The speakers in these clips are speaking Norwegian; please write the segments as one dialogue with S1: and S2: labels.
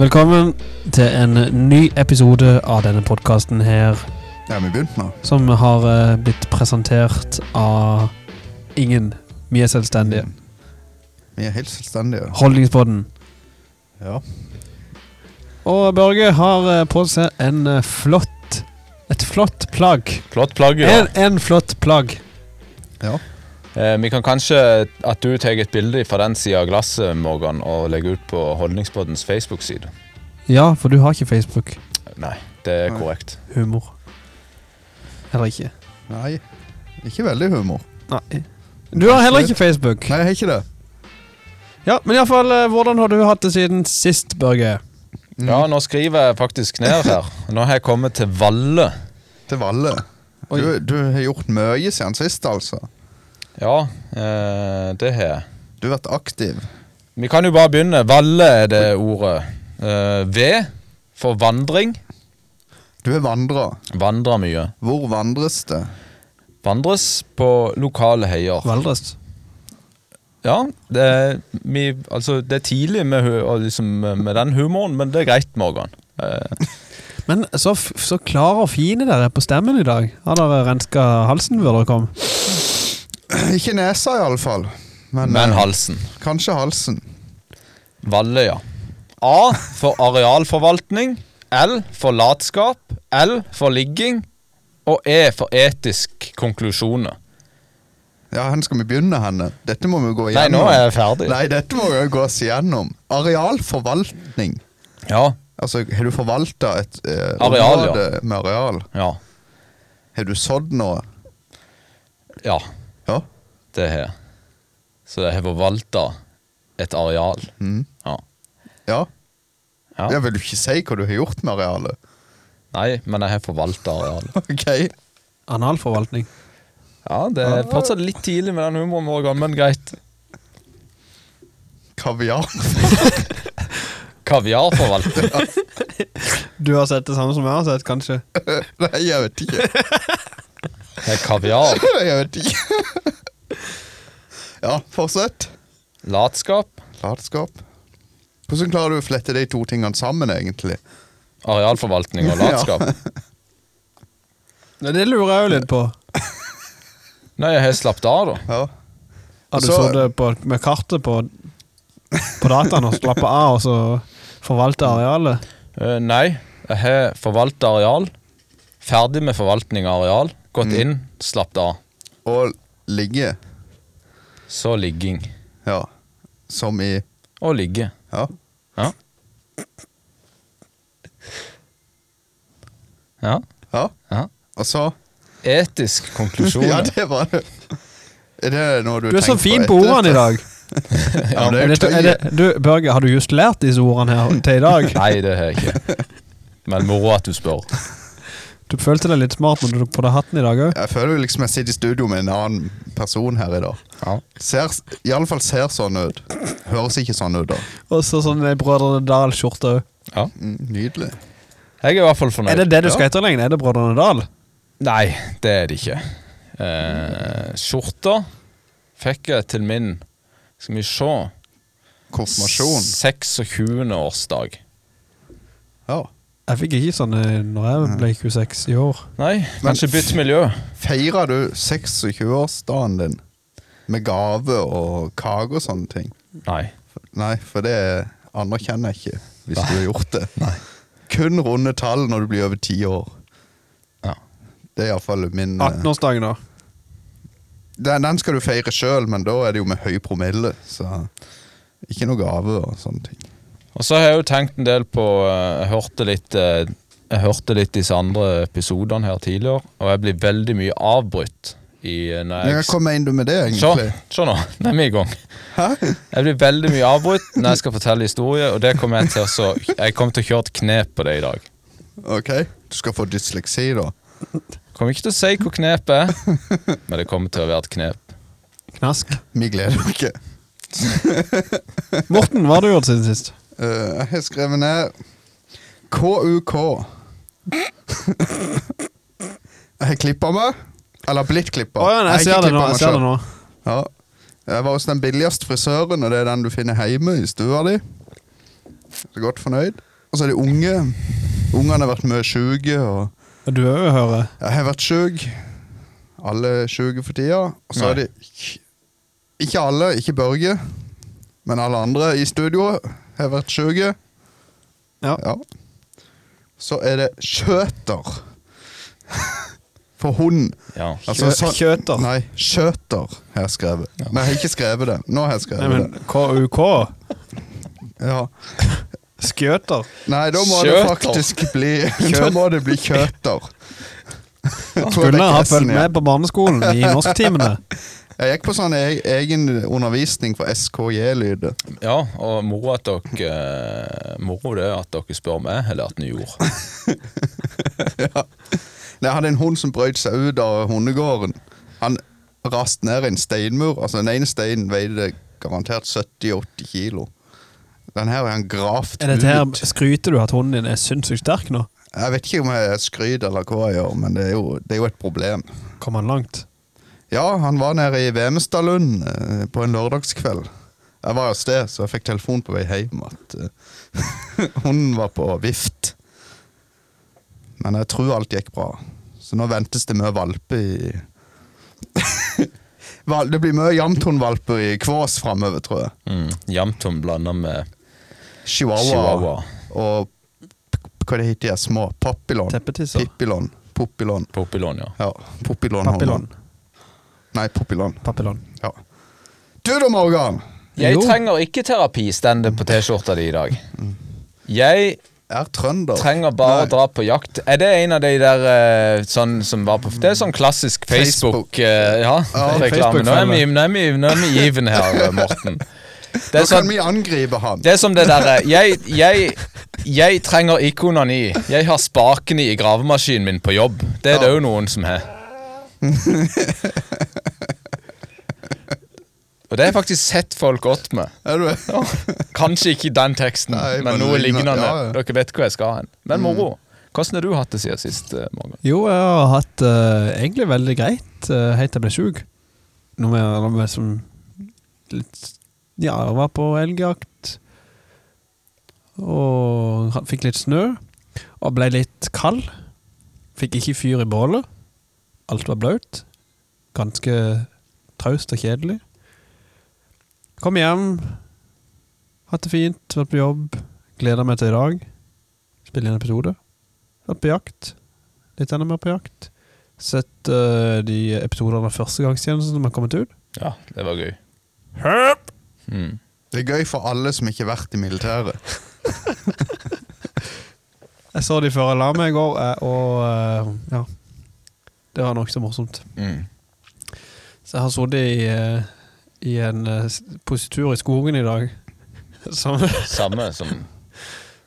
S1: Velkommen til en ny episode av denne podkasten her,
S2: Ja, vi begynte nå.
S1: som har eh, blitt presentert av ingen. Vi er selvstendige.
S2: Mm. Vi er helt selvstendige.
S1: Holdningspodden.
S2: Ja.
S1: Og Børge har eh, på seg en eh, flott Et flott plagg.
S3: Flott plagg, ja.
S1: En, en flott plagg.
S2: ja.
S3: Eh, vi kan kanskje at du tar et bilde fra den sida av glasset, Morgan, og legger ut på Holdningsbåtens Facebook-side.
S1: Ja, for du har ikke Facebook-humor.
S3: Nei, det er
S2: Nei.
S3: korrekt.
S1: Heller ikke.
S2: Nei, ikke veldig humor.
S1: Nei. Du har heller ikke Facebook.
S2: Nei, jeg har ikke det.
S1: Ja, Men iallfall, eh, hvordan har du hatt det siden sist, Børge?
S2: Mm.
S3: Ja, nå skriver jeg faktisk ned her. Nå har jeg kommet til Valle.
S2: Til Valle.
S1: Oi.
S2: Du, du har gjort mye siden sist, altså.
S3: Ja, eh, det har jeg.
S2: Du har vært aktiv.
S3: Vi kan jo bare begynne. Valle er det ordet. Eh, v for vandring.
S2: Du har vandra.
S3: Vandrer mye.
S2: Hvor vandres det?
S3: Vandres på lokale heier.
S1: Valdres.
S3: Ja, det er, vi, altså, det er tidlig med, hu- og liksom, med den humoren, men det er greit, Morgan. Eh,
S1: Men så, f- så klare og fine dere er på stemmen i dag. Har dere renska halsen før dere kom?
S2: Ikke nesa, iallfall. Men,
S3: men
S2: eh,
S3: halsen.
S2: kanskje halsen.
S3: Valle, ja. A for arealforvaltning. L for latskap. L for ligging. Og E for etisk konklusjoner.
S2: Ja, hen skal vi begynne, henne? Dette må vi gå
S3: Nei,
S2: igjennom.
S3: nå er jeg ferdig.
S2: Nei, dette må vi jo gå oss igjennom. Arealforvaltning.
S3: Ja,
S2: Altså, har du forvalta et eh,
S3: Areal, ja.
S2: område med areal?
S3: ja,
S2: Har du sådd noe?
S3: ja.
S2: Ja.
S3: Det har jeg. Så jeg har forvalta et areal.
S2: Mm.
S3: Ja.
S2: Ja.
S3: ja.
S2: Jeg vil jo ikke si hva du har gjort med arealet.
S3: Nei, men jeg har forvalta arealet.
S2: Ok,
S1: Analforvaltning.
S3: Ja, det er fortsatt litt tidlig med den humoren, Morgan, men greit.
S2: Kaviar.
S3: Kaviarforvalter.
S1: Du har sett det samme som jeg har sett, kanskje?
S2: Nei, jeg vet ikke.
S3: Det er kaviar.
S2: Jeg vet ikke. Ja, fortsett.
S3: Latskap.
S2: Latskap. Hvordan klarer du å flette de to tingene sammen, egentlig?
S3: Arealforvaltning og latskap.
S1: Nei, Det lurer jeg jo litt på.
S3: Nei, jeg har slappet av, da.
S2: Ja.
S1: Har du
S2: Så-
S1: sittet på- med kartet på, på dataen og slappet av, og så forvalte arealet?
S3: Eh, nei, jeg har forvalta areal. Ferdig med forvaltning av areal. Gått
S2: Mm.
S3: inn, slappet av.
S2: Og ligge.
S3: Så ligging.
S2: Ja. Som i
S3: Og ligge.
S2: Ja.
S3: Ja. Ja.
S2: ja.
S3: ja.
S2: Og så
S3: Etisk konklusjon.
S2: Ja, det var det. Er det noe du
S1: Du er så
S2: tenker
S1: fin på
S2: etter
S1: ordene i
S2: dette?
S1: dag.
S2: Ja, men
S1: Er
S2: det er jo
S1: det, er det,
S2: tøyet.
S1: du, Børge, har du just lært disse ordene her til i dag?
S3: Nei, det har jeg ikke. Men moro at du spør.
S1: Du følte deg litt smart når du tok på deg hatten i dag òg?
S2: Jeg føler jo liksom jeg sitter i studio med en annen person her i dag.
S3: Ja.
S2: Ser, Iallfall ser sånn ut. Høres ikke sånn ut, da.
S1: Og så sånn ei Brødrene Dal-skjorte òg.
S3: ja.
S2: Mm, Nydelig.
S3: Jeg er i hvert fall fornøyd.
S1: Er det det du skal etterligne? Er det Brødrene Dal?
S3: Nei, det er det ikke. Eh, skjorta fikk jeg til min Skal vi se
S2: Konfirmasjon.
S3: 26. årsdag.
S2: Ja.
S1: Jeg fikk ikke sånn eh, når jeg ble 26 i år.
S3: Nei,
S2: Men-
S3: kanskje bytt miljø.
S2: Feira du 26-årsdagen din med gave og kake og sånne ting?
S3: Nei.
S2: Nei, for det anerkjenner jeg ikke, hvis du har gjort det. Kun runde tall når du blir over ti år.
S3: Ja.
S2: Det er iallfall min eh,
S1: 18-årsdagen, da.
S2: den, den skal du feire sjøl, men da er det jo med høy promille, så ikke noe gave og sånne ting.
S3: Og så har jeg jo tenkt en del på eh, Jeg hørte litt eh, Jeg hørte litt disse andre episodene her tidligere, og jeg blir veldig mye avbrutt i eh, når
S2: Jeg
S3: jeg
S2: kom inn med det,
S3: Se,
S2: egentlig.
S3: se nå. Nå er vi i gang.
S2: Hæ?
S3: Jeg blir veldig mye avbrutt når jeg skal fortelle historier, og det kommer jeg til å så Jeg kommer til å kjøre et knep på det i dag.
S2: Ok, du skal få dysleksi, da.
S3: Kommer ikke til å si hvor knepet er, men det kommer til å være et knep.
S1: Knask.
S2: Vi gleder oss ikke.
S1: Morten, hva har du gjort siden sist?
S2: Eh, jeg har skrevet ned KUK. jeg har klippa meg. Eller blitt klippa.
S1: Å ja, nei, jeg ser det nå. Jeg ser det nå.
S2: Ja. Jeg var hos den billigste frisøren, og det er den du finner hjemme i stua di. Så godt fornøyd. Og så er det unge. Ungene har vært mye sjuke. Og
S1: Og du òg hører.
S2: jeg har vært sjuk. Alle er sjuke for tida. Og så er
S3: Nei.
S2: det ikk- Ikke alle, ikke Børge, men alle andre i studio har vært sjuke.
S1: Ja.
S2: Så er det skjøter. For hund.
S3: Ja.
S2: Altså, sånn-
S1: Kjøter.
S2: Nei, skjøter har jeg skrevet. Men jeg har ikke skrevet det. Nå har jeg
S1: Nei,
S2: skrevet
S1: men KUK?
S2: det. Ja.
S1: Skjøter?
S2: Nei, da må det
S3: Kjøter.
S2: faktisk bli Da må det bli kjøter. Jeg tror jeg
S1: Skulle
S2: fikk
S1: ha
S2: S-en
S1: fulgt
S2: igjen.
S1: med på barneskolen i norsktimene.
S2: Jeg gikk på sånn e- egen undervisning for SKJ-lyder.
S3: ja, og moro at dere eh, Moro det at dere spør meg, eller at dere gjorde.
S2: Jeg hadde en hund som brøt seg ut av hundegården. Han rast ned i en steinmur. Altså Den ene steinen veide garantert 70-80 kilo. Den her er han gravd
S1: Er dette her
S2: ut.
S1: Skryter du at hunden din er sinnssykt sterk nå?
S2: Jeg vet ikke om jeg skryter eller hva jeg gjør, men det er jo, det er jo et problem.
S1: Kom han langt?
S2: Ja, han var nede i Vemestadlund eh, på en lørdagskveld. Jeg var av sted, så jeg fikk telefon på vei hjem at eh, hunden var på vift. Men jeg tror alt gikk bra. Så nå ventes det mye valper i Val- Det blir mye jamthundvalper i Kvås framover, tror jeg.
S3: Mm. Jamtum blanda med
S2: Chihuahua,
S3: chihuahua.
S2: og p- p- hva det heter de her små? Papillon?
S1: Teppetisser?
S2: Pippilon? Popilon?
S3: Popilon, ja.
S2: Ja, popilon.
S1: Papillon?
S2: Nei, popilon.
S1: Papillon.
S2: Ja. Du da, Morgan!
S3: Jeg
S1: Jo.
S3: trenger ikke terapi, stender det på T-skjorta di i dag. Jeg
S2: er trønder.
S3: trenger bare
S2: Nei.
S3: å dra på jakt. Er det en av de der eh, sånn som var på Det er sånn klassisk Facebook,
S2: Facebook.
S3: eh, ja,
S2: Ja,
S3: reklame. Nå er vi,
S1: Facebook-følge.
S3: nå er vi, nå er vi given her, eh, Morten. Det
S2: Nå
S3: er, sånn,
S2: kan vi angripe ham.
S3: det er som det derre jeg, jeg, jeg trenger ikonene i. Jeg har spakene i gravemaskinen min på jobb. Det er det
S2: Ja.
S3: òg noen som har. Og det har jeg faktisk sett folk godt med.
S2: Er du
S3: Ja. Kanskje ikke den teksten,
S2: Nei, men
S3: men noe
S2: lignende,
S3: lignende.
S2: ja, Mm. ja.
S3: Dere vet hvor jeg skal hen. Men moro. Hvordan har du hatt det siden sist, eh, Morgan?
S1: Jo, jeg har hatt eh, egentlig veldig greit eh, helt til jeg ble sjuk. Noe mer eller mer som litt, Ja, jeg var på elgjakt. Og ha- fikk litt snø. Og ble litt kald. Fikk ikke fyr i bålet. Alt var blaut. Ganske traust og kjedelig. Kom hjem. Hatt det fint, vært på jobb. Gleder meg til i dag. Spille inn episode. Vært på jakt litt enda mer på jakt. Sett eh, de episodene av førstegangstjenesten som har kommet ut.
S3: Ja, det var gøy. Mm.
S2: Det er gøy for alle som ikke har vært i militæret.
S1: Jeg så de før jeg la meg i går, eh, og eh, ja. Det var nokså morsomt.
S3: Mm.
S1: Så jeg har sittet i, eh, i en eh, s- positur i skogen i dag som,
S3: Samme som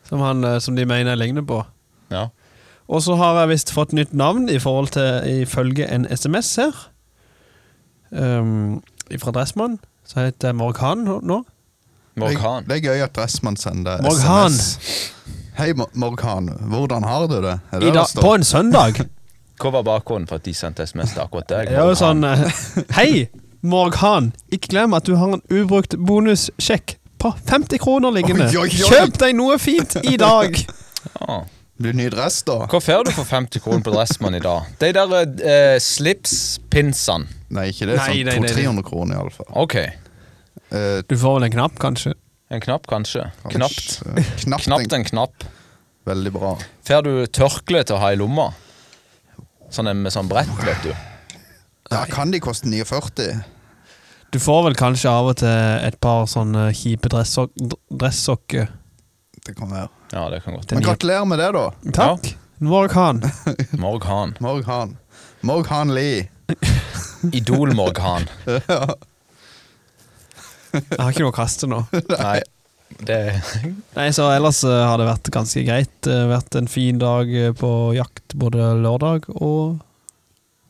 S1: som, han, eh, som de mener jeg ligner på.
S3: Ja.
S1: Og så har jeg visst fått nytt navn i forhold til ifølge en SMS her. Um, fra Dressmann. Så heter jeg Morghan nå- nå.
S3: Morkan.
S2: Det, det er gøy at Dressmann sender
S1: Morgan.
S2: SMS. Hei, Mo- Morgan. Hvordan har du det? Er det
S1: I
S2: det
S1: dag-
S2: står?
S1: på en søndag.
S3: Hva var bakgrunnen for at de sendte SMS til akkurat deg?
S1: Det er jo sånn eh,
S3: Morgan?
S1: Hei, Morghan. Ikke glem at du har en ubrukt bonussjekk på 50 kroner liggende.
S2: Oi, oi, oi.
S1: Kjøp deg noe fint i dag!
S3: ja.
S2: Blir det ny dress, da?
S3: Hva får du for 50 kroner på Dressmann i dag? De der eh, slipspinsene.
S2: Nei, ikke det.
S1: Nei, nei, nei,
S2: sånn
S1: nei.
S2: 200-300 kroner, iallfall.
S3: Ok.
S2: Eh,
S1: Du får vel en knapp, kanskje?
S3: En knapp, kanskje. Knapt.
S2: kanskje- Knapt.
S3: Knapt
S2: en-
S3: en knapp.
S2: Veldig bra.
S3: Får du tørkle til å ha i lomma? Sånn en med sånn brett, vet du.
S2: Ja, kan de koste 49?
S1: Du får vel kanskje av og til et par sånne kjipe dressok- dr- dresssokker.
S2: Det kan være.
S3: Ja, det kan godt
S1: Den
S2: Men
S1: gir-
S2: gratulerer med det, da.
S1: Takk. Morghan.
S3: Morgan.
S2: Morgan. Morgan Lee.
S3: Idol-Morgan.
S1: Jeg har ikke noe å kaste nå.
S3: Nei, det
S1: Nei, så ellers eh, har det vært ganske greit. Det har vært en fin dag eh, på jakt både lørdag og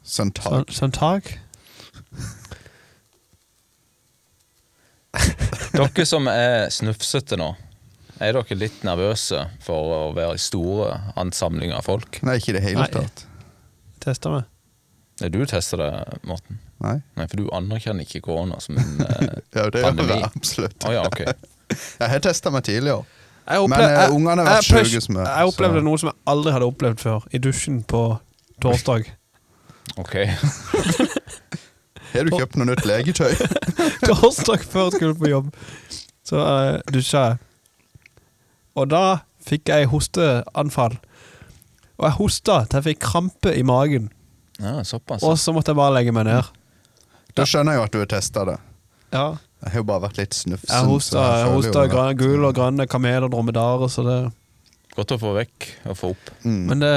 S2: Søndag.
S1: søn- søndag.
S3: Dere som er snufsete nå, er dere litt nervøse for å være i store ansamlinger av folk?
S2: Nei, ikke i det hele
S1: Nei.
S2: tatt.
S1: Testa meg.
S3: Nei, du tester det, Morten.
S2: Nei.
S3: Nei, for du anerkjenner ikke korona som en eh,
S2: Ja, det gjør
S3: Pandemi.
S2: jeg absolutt.
S3: Å ja, ok.
S2: Jeg har testa meg tidligere.
S1: Jeg
S2: Men, eh, ungene har vært
S1: jeg-
S2: sjuke som er,
S1: Jeg opplevde
S2: så-
S1: noe som jeg aldri hadde opplevd før, i dusjen på torsdag.
S3: Ok.
S2: Har du kjøpt noe nytt legetøy?
S1: torsdag før jeg skulle på jobb. Så uh, dusja jeg. Og da fikk jeg hosteanfall. Og jeg hosta til jeg fikk krampe i magen.
S3: Ja, såpass.
S1: Og så måtte jeg bare legge meg ned.
S2: Da skjønner jeg jo at du har testa det.
S1: Ja.
S2: Jeg har jo bare vært litt snufsen.
S1: Jeg
S2: så
S1: hosta,
S2: jeg
S1: jeg
S2: føler jo
S1: hosta
S2: at- eh,
S1: gran, gul og grønne kameler og dromedarer, så det
S3: Godt å få vekk og få opp.
S2: Mm.
S1: Men det,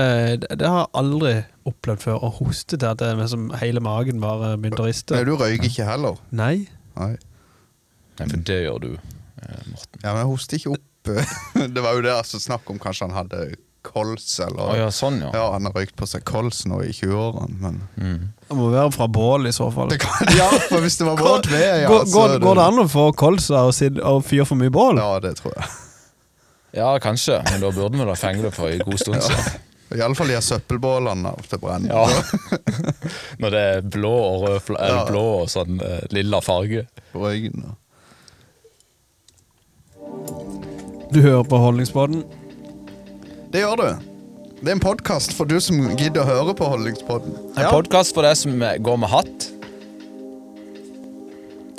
S1: det, det har jeg aldri opplevd før. Å hoste til at det, er liksom hele magen bare begynte å riste.
S2: Nei, du røyker ikke heller.
S1: Nei.
S2: Nei.
S3: Nei, for det gjør du, eh, Morten.
S2: Ja, men jeg hoster ikke opp. det var jo det altså, snakk om kanskje han hadde kols,
S3: Å
S2: eller
S3: ja, sånn, ja.
S2: Ja, han har røykt på seg kols nå i 20-årene, men
S3: Mm.
S1: Det må være fra bål i så fall.
S2: det kan, Ja, for hvis det var våt ved, ja.
S1: går,
S2: så
S1: går,
S2: er
S1: går det an å få kols av å sitte- av å fyre for mye bål?
S2: Ja, det tror jeg.
S3: ja, kanskje, men da burde vi da fenge det for en god stund siden.
S2: Iallfall de her søppelbålene ofte brenner.
S3: Ja. Når det er blå og rød fla- eller
S2: Ja.
S3: blå og sånn eh, lilla farge.
S2: på røyken. og-
S1: Du hører på Holdningsbåten.
S2: Det gjør du. Det er en podkast for du som gidder å høre på Holdningspodden.
S3: En podkast for deg som eh, går med hatt.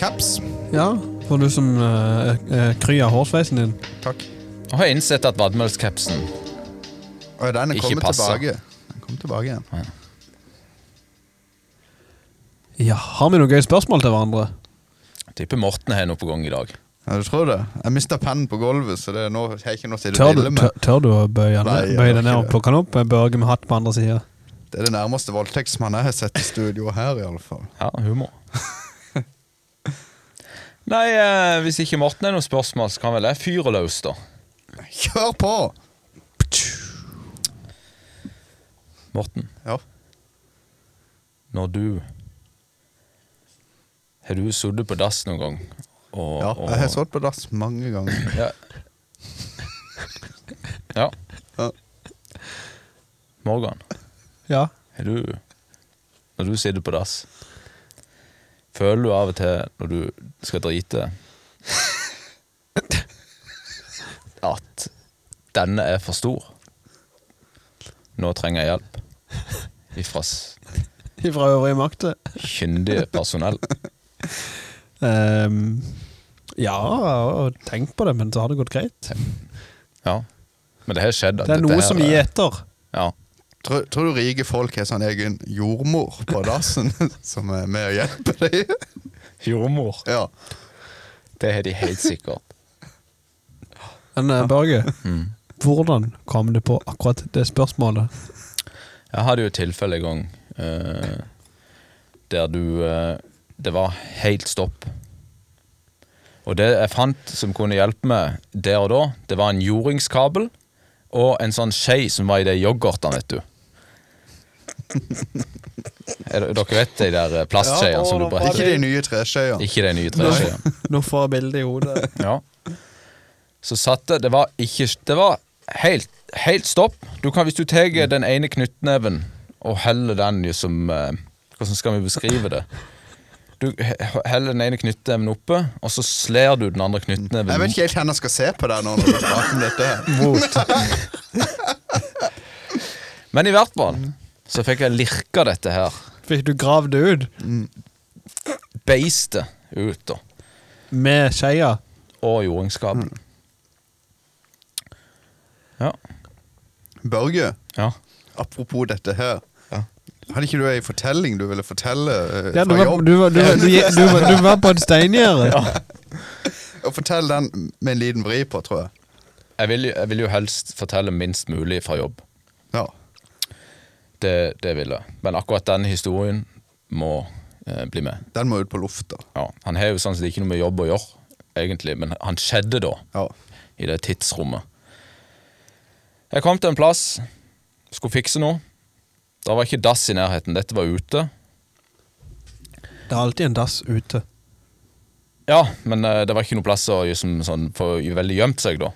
S2: Caps.
S1: Ja, for du som eh, eh, kry av hårsveisen din.
S2: Takk.
S3: Og har innsett at vadmelscapsen
S2: Og den er
S3: Ikke
S2: kommet
S3: passer.
S2: tilbake. Den kom tilbake igjen.
S1: Ja, Har vi noen gøye spørsmål til hverandre?
S3: Tipper Morten har noe på gang i dag.
S2: Ja, du tror det? Jeg mista pennen på gulvet, så det er nå, jeg har ikke noe å sitte
S1: Tør
S2: og
S1: du,
S2: dille
S1: tør,
S2: med.
S1: tør du å bøye, den-
S2: Nei, jeg
S1: bøye
S2: gjør
S1: deg ned
S2: ikke
S1: og
S2: det.
S1: plukke den opp? En børge med hatt på andre sida.
S2: Det er det nærmeste voldtektsmannen jeg har sett i studio her, iallfall.
S3: Ja, humor. Nei, eh, hvis ikke Morten har noen spørsmål, så kan vel jeg fyre løs, da.
S2: Kjør på!
S3: Morten,
S2: Ja.
S3: når du Har du sittet på dass noen gang? Og,
S2: ja jeg har sittet på dass mange ganger.
S3: Ja. ja.
S2: Ja.
S3: Morgan,
S1: Ja.
S3: har du Når du sitter på dass, føler du av og til når du skal drite At denne er for stor? Nå trenger jeg hjelp ifra s-
S1: Fra øvrige makter.
S3: kyndige personell.
S1: Ehm, ja, og tenk på det, men så har det gått greit.
S3: Ja. Men det har skjedd. at
S1: Det er
S3: dette
S1: noe
S3: her
S1: som
S2: eh.
S3: er-
S1: gir etter.
S3: Ja.
S2: Tror, tror du rike folk har sånn egen jordmor på dassen som er med og hjelper dem?
S3: Jordmor.
S2: Ja.
S3: Det har de helt sikkert.
S1: Men eh, Børge,
S3: Mm.
S1: hvordan kom du på akkurat det spørsmålet?
S3: Jeg hadde jo et tilfelle en gang eh, der du eh, Det var helt stopp. Og det jeg fant som kunne hjelpe meg der og da, det var en jordingskabel og en sånn skje som var i de yoghurtene, vet du. Er det- Dere vet de der eh, plastskjeene som du
S2: Ikke
S3: bretter?
S2: de nye treskjeene.
S3: Ikke de nye treskjeene.
S1: Nå får jeg bildet i hodet.
S3: Ja. Så satte Det var ikke Det var helt, helt stopp. Du kan, hvis du tar den ene knyttneven og heller den jo som eh, Hvordan skal vi beskrive det? Du he- heller den ene knyttneven oppe, og så slår du den andre knyttneven
S2: Jeg vet ikke helt hvem jeg skal se på der nå når vi snakker om dette. her.
S3: Men i hvert fall så fikk jeg lirka dette her
S1: Fikk du gravd det ut
S3: beistet ut, da.
S1: med skeia?
S3: Og jordingskabelen. Ja.
S2: Børge,
S3: ja.
S2: apropos dette her.
S3: Ja.
S2: Hadde ikke du ei fortelling du ville fortelle eh,
S1: Ja, du,
S2: fra
S1: var,
S2: jobb?
S1: du, var, du, var, du, du, var, du var på et steingjerde.
S2: Og Fortell den med en liten vri på, tror jeg.
S3: Jeg vil, jo- jeg vil jo helst fortelle minst mulig fra jobb.
S2: Ja.
S3: Det, det vil jeg. Men akkurat den historien må eh, bli med.
S2: Den må ut på lufta.
S3: Ja, han har jo sånn sett ikke noe med jobb å gjøre, egentlig, men han skjedde da,
S2: Ja.
S3: i det tidsrommet. Jeg kom til en plass, skulle fikse noe. Da var ikke dass i nærheten, dette var ute.
S1: Det er alltid en dass ute.
S3: Ja, men eh, det var ikke noe plass å liksom, sånn, få veldig gjemt seg da.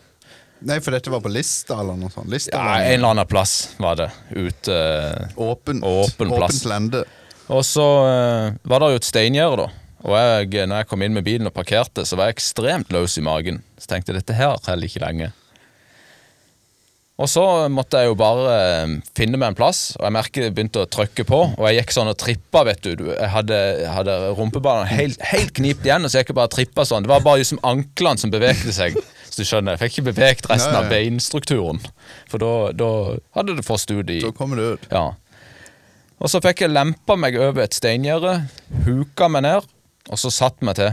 S2: Nei, for dette var på Lista eller noe sånt. Lista
S3: Ja,
S2: var
S3: en eller annen plass var det, ute.
S2: åpent,
S3: Åpen plass.
S2: åpent lende.
S3: Og så eh, var det jo et steingjerde, da. Og jeg, når jeg kom inn med bilen og parkerte, så var jeg ekstremt løs i magen. Så tenkte jeg dette her holder ikke lenge. Og så måtte jeg jo bare eh, finne meg en plass, og jeg merket jeg begynte å trykke på. Og jeg gikk sånn og trippa, vet du. Du- Jeg hadde, jeg hadde rumpeballene helt, helt knipt igjen, og så gikk jeg bare og trippa sånn. Det var bare liksom anklene som bevegde seg. Så du skjønner, jeg fikk ikke beveget resten av
S2: Nei.
S3: beinstrukturen. For da, da hadde det fått ut i
S2: Da kommer du ut.
S3: ja. Og så fikk jeg lempa meg over et steingjerde, huka meg ned, og så satt meg til.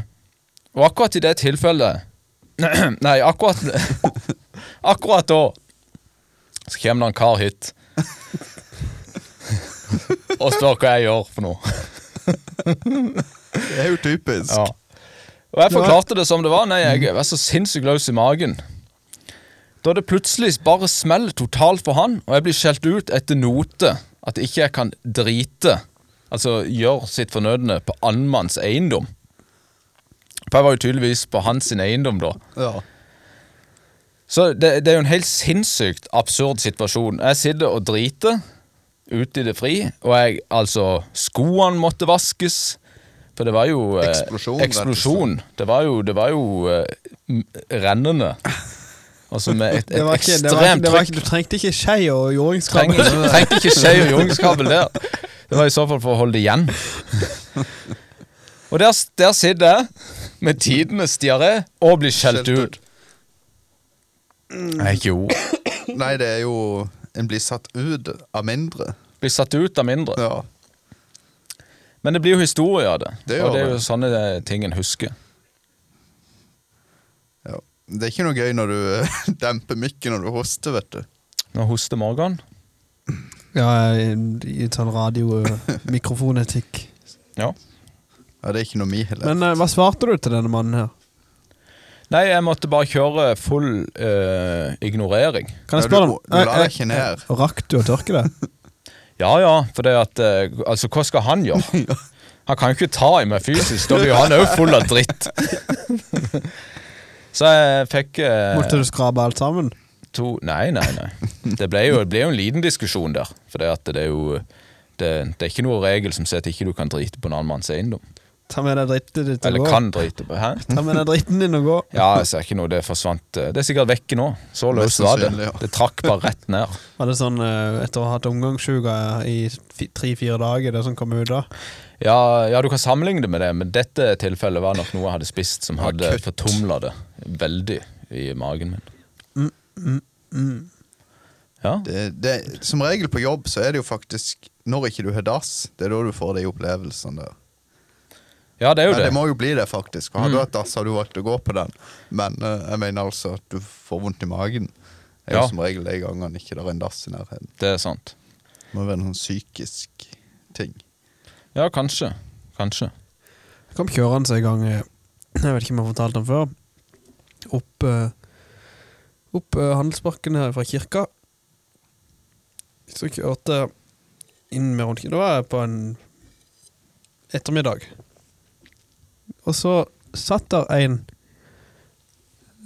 S3: Og akkurat i det tilfellet Nei, akkurat Akkurat da så kommer det en kar hit og spør hva jeg gjør for noe.
S2: Det er jo typisk.
S3: Ja. Og jeg forklarte det som det var. Nei, jeg var så sinnssykt løs i magen. Da det plutselig bare smeller totalt for han, og jeg blir skjelt ut etter note at ikke jeg kan drite, altså gjøre sitt fornødne, på annenmanns eiendom. For jeg var jo tydeligvis på hans sin eiendom, da.
S2: Ja.
S3: Så det, det er jo en helt sinnssykt absurd situasjon. Jeg sitter og driter ute i det fri, og jeg, altså, skoene måtte vaskes. For det var jo eh,
S2: Eksplosjon, rett og slett.
S3: eksplosjon. Det var jo, det var jo eh, m- rennende. Altså med et,
S1: Det var
S3: et
S1: ikke, det var ikke,
S3: ekstremt
S1: det var
S3: trykk.
S1: ikke, du trengte ikke skei og jordingskabel.
S3: Trenger ikke- trenger ikke skje og jordingskabel der. Det var i så fall for å holde det igjen. Og der, der sitter jeg med tidenes diaré og blir skjelt
S2: Skjelt
S3: ut.
S1: Mm.
S3: Nei, ikke ord.
S2: Nei, det er jo En blir satt ut av mindre.
S3: Blir satt ut av mindre.
S2: Ja.
S3: Men det blir jo historie av det.
S2: Det gjør
S3: og det er
S2: det.
S3: jo sånne eh, ting en husker.
S2: ja. Det er ikke noe gøy når du eh, demper mikken når du hoster, vet du.
S3: Nå hoster Morgan.
S1: Ja, i i sånn radio mikrofonetikk.
S3: Ja.
S2: Ja, Det er ikke noe mi heller.
S1: Men eh, hva svarte du til denne mannen her?
S3: Nei, jeg måtte bare kjøre full eh, ignorering.
S1: Kan jeg
S2: Ja, du-
S1: spørre
S2: du la
S1: Eh, eh,
S2: deg ikke ned.
S1: eh, Rakk du å tørke det?
S3: Ja ja, for det at eh, Altså, hva skal han gjøre? Han kan jo ikke ta i meg fysisk. Da blir jo han òg full av dritt. Så jeg fikk eh,
S1: Måtte du skrape alt sammen?
S3: to Nei, nei, nei. Det ble jo, det ble jo en liten diskusjon der. For det, at det er jo det, det er ikke noe regel som sier at ikke du kan drite på en annen manns eiendom.
S1: Ta med deg dritten ditt og
S3: Eller
S1: gå.
S3: kan drite på. Hæ?
S1: Ta med deg dritten din og gå.
S3: Ja, jeg ser ikke noe. Det forsvant eh, Det er sikkert vekke nå. Så løst
S2: Mest
S3: var det.
S2: sannsynlig, ja.
S3: Det trakk bare rett ned.
S1: Var det sånn eh, etter å ha hatt omgangssyke i tre-fire dager, det som kom ut da?
S3: Ja, ja, du kan sammenligne det med det, men dette tilfellet var nok noe jeg hadde spist som
S2: Ja,
S3: hadde
S2: kutt.
S3: fortumla det veldig i magen min.
S2: Mm,
S3: Ja.
S2: Det, det, som regel på jobb så er det jo faktisk når ikke du har dass, det er da du får de opplevelsene der.
S3: ja, det er
S2: Det,
S3: jo
S2: det
S3: det. Mm.
S2: må jo bli det, faktisk. For hadde du hatt dass, hadde du valgt å gå på den. Men eh, jeg mener altså at du får vondt i magen. Det er
S3: Ja.
S2: jo som regel de gangene ikke det er en dass i nærheten.
S3: Det er sant.
S2: Det må være en sånn psykisk ting.
S3: Ja, kanskje. Kanskje.
S1: Jeg kom kjørende en gang eh, Jeg vet ikke om jeg har fortalt den før Opp eh, Opp eh, handelsparken her fra kirka Så kjørte jeg Inn med rundkjøring Da var jeg på en Ettermiddag Og så satt der en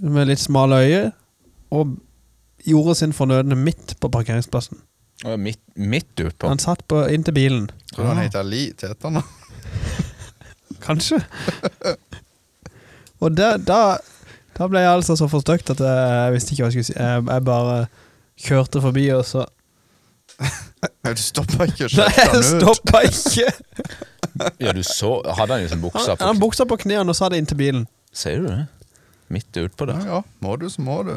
S1: Med litt smale øye Og gjorde sin fornødende midt på parkeringsplassen
S3: Og Midt, midt utpå.
S1: Han satt på, inn til bilen
S2: Tror
S3: Ah.
S2: du han heter Li til etternavn?
S1: Kanskje. Og da, da, da ble jeg altså så forstøkt at jeg, jeg visste ikke hva jeg skulle si. Jeg, jeg bare kjørte forbi, og så
S2: Nei, Du stopper ikke og
S1: Nei,
S2: skjelter
S1: jeg
S2: han ut.
S1: stoppa ikke!
S3: Ja, du så Hadde han jo
S1: Han
S3: sånn buksa
S1: han
S3: på?
S1: hadde buksa på knærne og sa det inntil bilen.
S3: Ser du det? Midt utpå
S2: Ja,
S3: der.
S2: ja. Må du, så må du.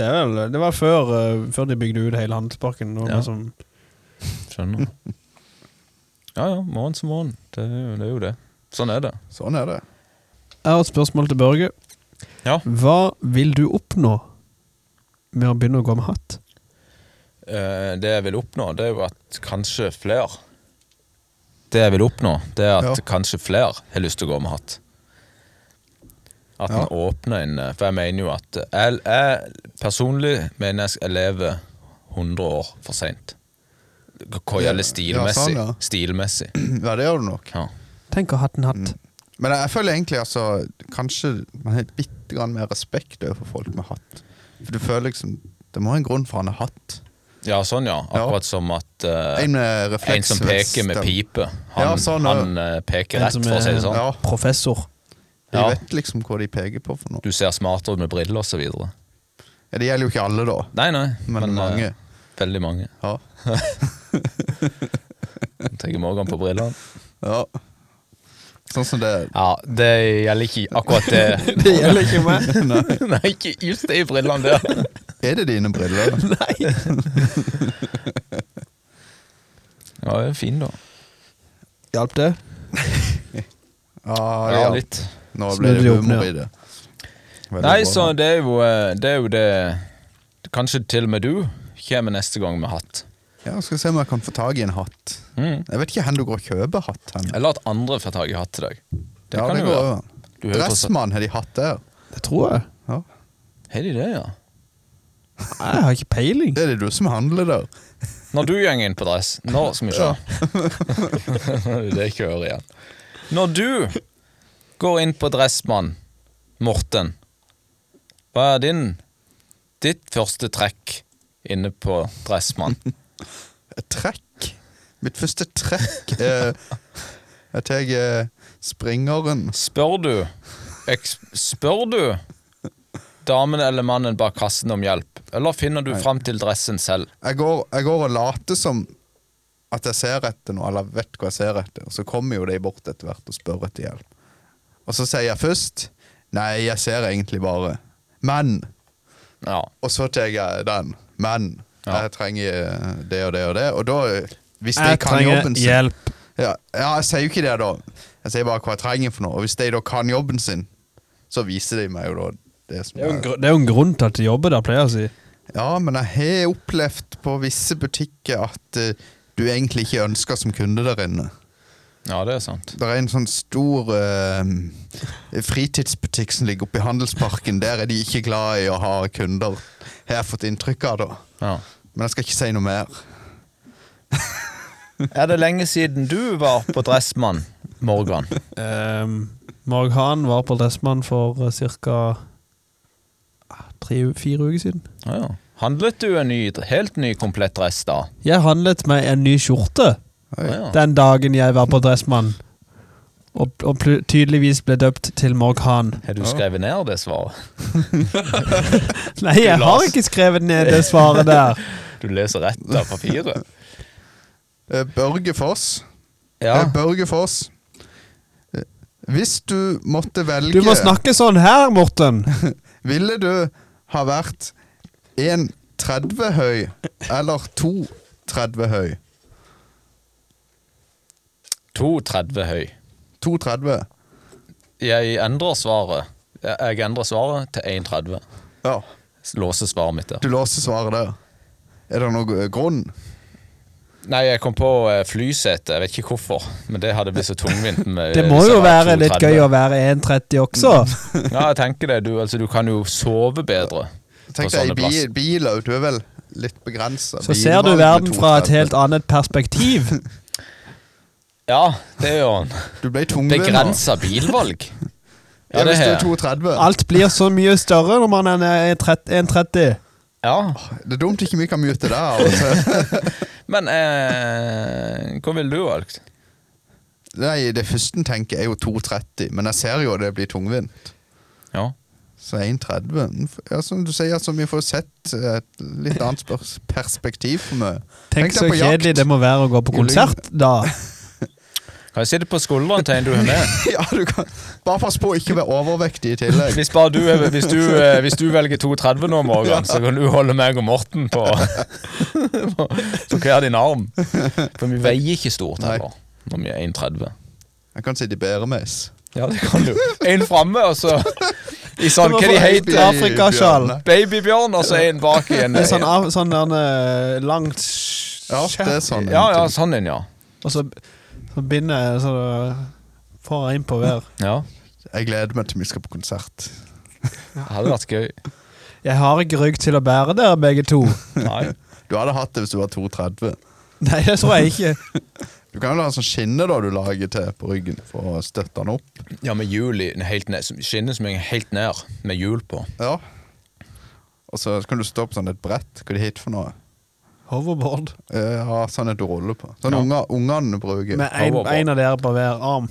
S1: Det, er vel, det var før, eh, før de bygde ut hele handelsparken. Og
S3: Ja.
S1: liksom,
S3: Skjønner. Ja ja, morgen som morgen. Det er jo det. Er jo det. Sånn er det.
S2: Sånn er det.
S1: jeg har et spørsmål til Børge.
S3: Ja.
S1: Hva vil du oppnå med å begynne å gå med hatt?
S3: Eh, det jeg vil oppnå, det er jo at kanskje flere Det jeg vil oppnå, det er at
S2: Ja.
S3: kanskje flere har lyst til å gå med hatt. At en
S2: Ja.
S3: åpner en eh, For jeg mener jo at eh, jeg, jeg personlig mener jeg jeg lever 100 år for seint. Hva
S2: Ja,
S3: gjelder
S2: ja,
S3: stilmessig.
S2: sånn, ja.
S3: Stilmessig.
S2: Ja, det gjør du nok.
S3: Ja.
S1: Tenk å ha hatt en hatt.
S2: Men jeg, jeg føler egentlig altså Kanskje man har bitte grann mer respekt overfor folk med hatt. For du føler liksom Det må ha en grunn for han har hatt.
S3: ja, sånn, ja.
S2: Ja.
S3: Akkurat som at eh,
S2: En med refleksvest.
S3: en som peker med
S2: den-
S3: pipe, han,
S2: Ja, sånn, ja.
S3: han eh, peker
S1: En
S3: rett,
S1: som
S3: for å si
S1: er-
S3: det sånn.
S2: Ja,
S1: Professor.
S2: de
S3: Ja.
S2: vet liksom hva de peker på for noe.
S3: Du ser smartere ut med briller osv.
S2: Ja, det gjelder jo ikke alle, da,
S3: Nei, nei.
S2: men,
S3: eh,
S2: mange.
S3: veldig mange.
S2: Ja.
S3: Tenker Morgan på brillene.
S2: ja. Sånn som det
S3: Ja, det gjelder ikke akkurat det.
S1: Det gjelder ikke meg.
S2: Nei.
S3: nei, ikke just de brillene der.
S2: Er det dine briller?
S1: Nei.
S3: Ja, det er fin, da.
S1: Hjalp det?
S2: Ah,
S3: Ja, litt.
S2: Nå
S1: Snudde
S2: blir det
S1: de opp
S2: humor
S1: ned.
S2: i det. Veldig
S3: Nei,
S2: bra.
S3: så det er jo eh, det, er jo det Kanskje til og med du kommer neste gang med hatt.
S2: Ja, Skal se om jeg kan få tak i en hatt.
S3: Mm.
S2: Jeg vet ikke hvor du går og kjøper hatt. Hen.
S3: Eller at andre får tak i hatt til deg. Det
S2: ja,
S3: kan
S2: det
S3: jo
S2: går
S3: være.
S2: an.
S3: Du hører på så-
S2: Dressmann har de hatt der.
S1: Det tror jeg.
S2: Ja.
S3: Har de det, ja?
S1: Nei, jeg har ikke peiling.
S2: Det er det du som handler der.
S3: Når du går inn på dress, nå skal vi se. det kjører igjen. Når du går inn på Dressmann, Morten, hva er din ditt første trekk inne på Dressmann?
S2: Et trekk. Mitt første trekk er at jeg er springeren.
S3: Spør du eks- Spør du damen eller mannen bak kassen om hjelp, eller finner du fram til dressen selv?
S2: Jeg går, jeg går og later som at jeg ser etter noe, eller vet hva jeg ser etter. Og så kommer jo de bort etter hvert og spør etter hjelp. Og så sier jeg først Nei, jeg ser egentlig bare. Men.
S3: Ja.
S2: Og så tar jeg eh, den. Men.
S3: Ja.
S2: Jeg trenger eh, det og det og det. Og da, hvis de
S1: Jeg
S2: kan
S1: trenger
S2: jobben sin
S1: hjelp.
S2: Ja, ja, jeg sier jo ikke det, da. Jeg sier bare hva jeg trenger for noe. Og hvis de da kan jobben sin, så viser de meg jo da det som
S1: Det er jo en,
S2: jeg
S1: gru- det er jo en grunn til at de jobber der, pleier jeg å si.
S2: Ja, men jeg har opplevd på visse butikker at eh, du egentlig ikke ønsker som kunde der inne.
S3: ja, det er sant.
S2: Det er en sånn stor eh, fritidsbutikk som ligger oppe i Handelsparken. Der er de ikke glad i å ha kunder, har jeg fått inntrykk av, da.
S3: Ja.
S2: Men jeg skal ikke si noe mer.
S3: Er det lenge siden du var på Dressmann, Morgan?
S1: Um, Marg Hahn var på Dressmann for ah, uh, ca. tre-fire uker siden.
S3: Ja, ja. Handlet du en ny, helt ny komplett dress da?
S1: Jeg handlet meg en ny skjorte
S2: Oi.
S3: Ja, ja.
S1: den dagen jeg var på Dressmann. Og, og pl- tydeligvis ble døpt til Morg Hahn.
S3: Har du skrevet ned det svaret?
S1: Nei, jeg har ikke skrevet ned det svaret der.
S3: Du leser rett av papiret?
S2: Eh, Børge Foss. Eh,
S3: Ja.
S2: Børge Foss. Eh, Hvis du måtte velge
S1: Du må snakke sånn her, Morten.
S2: Ville du ha vært 1,30 høy eller 2,30 høy?
S3: 2,30 høy.
S2: 2,30.
S3: Jeg endrer svaret. Jeg- Jeg endrer svaret til 1,30.
S2: Ja.
S3: Låser svaret mitt der.
S2: Du låser svaret der. Er det noen eh, grunn?
S3: Nei, jeg kom på eh, flysete. Jeg vet ikke hvorfor, men det hadde blitt så tungvint. Med, eh,
S1: Det må jo være litt gøy å være 1,30 også.
S3: Ja, jeg tenker det. Du, altså, du kan jo sove bedre.
S2: Tenk
S3: På
S2: deg
S3: sånne
S2: i bi bil òg. Du er vel litt begrensa.
S1: Så ser du verden fra et helt annet perspektiv.
S3: Ja, det er jo en
S2: Du ble tungvint.
S3: begrensa bilvalg.
S2: Ja,
S3: Ja, det
S2: hvis du
S3: har
S2: er
S3: jeg.
S2: 2,30.
S1: Alt blir så mye større når man er 1,30.
S3: Ja.
S2: Det er dumt ikke vi kan mute deg. Altså.
S3: Men eh, hva ville du valgt?
S2: Nei, det første en tenker, er jo 2,30, men jeg ser jo det blir tungvint.
S3: Ja.
S2: Så 1,30 ja, Som du sier, så vi får sett et litt annet spørs- perspektiv for meg.
S1: Tenk
S2: deg
S1: så
S2: på jakt.
S1: kjedelig det må være å gå på
S2: I lyn.
S1: konsert, da.
S3: Kan jeg sitte på skulderen til en du har med?
S2: ja, du kan Bare pass på å ikke være overvektig i tillegg.
S3: Hvis, bare du, hvis, du, eh, hvis du velger 2,30 nå, Morgan, så kan du holde meg og Morten på, på, på hver din arm. For vi veier ikke stort
S2: Nei.
S3: heller når vi er 1,30.
S2: Jeg kan sitte i bæremeis.
S3: Ja, det kan du. En framme, og så i sånn Hva de
S1: Baby-
S3: heter
S1: Afrikasjal.
S2: Bjørne.
S3: Babybjørn, og så en bak i en
S1: Med sånn, av- sånn der eh, langt skjær,
S2: Ja, det er sånn.
S3: Ja, ja, sånn en, ja.
S1: og så, så binder jeg så får jeg inn på hver.
S3: ja.
S2: Jeg gleder meg til vi skal på konsert.
S3: Det hadde vært gøy.
S1: Jeg har ikke rygg til å bære dere begge to.
S3: Nei.
S2: Du hadde hatt det hvis du var 2,30.
S1: Nei, det tror jeg ikke.
S2: Du kan jo ha en sånn skinne da du lager til på ryggen for å støtte den opp.
S3: Ja, med hjul i helt ned. Skinnet som henger helt ned, med hjul på.
S2: Ja Og så kan du stå på sånn et brett. Hva er det hit for noe?
S1: Hoverboard.
S2: Eh, Ja, sånn et du ruller på. Sånn
S3: Ja.
S2: unger, ungene bruker.
S1: Med en,
S3: Hoverboard.
S1: en av dere på hver arm.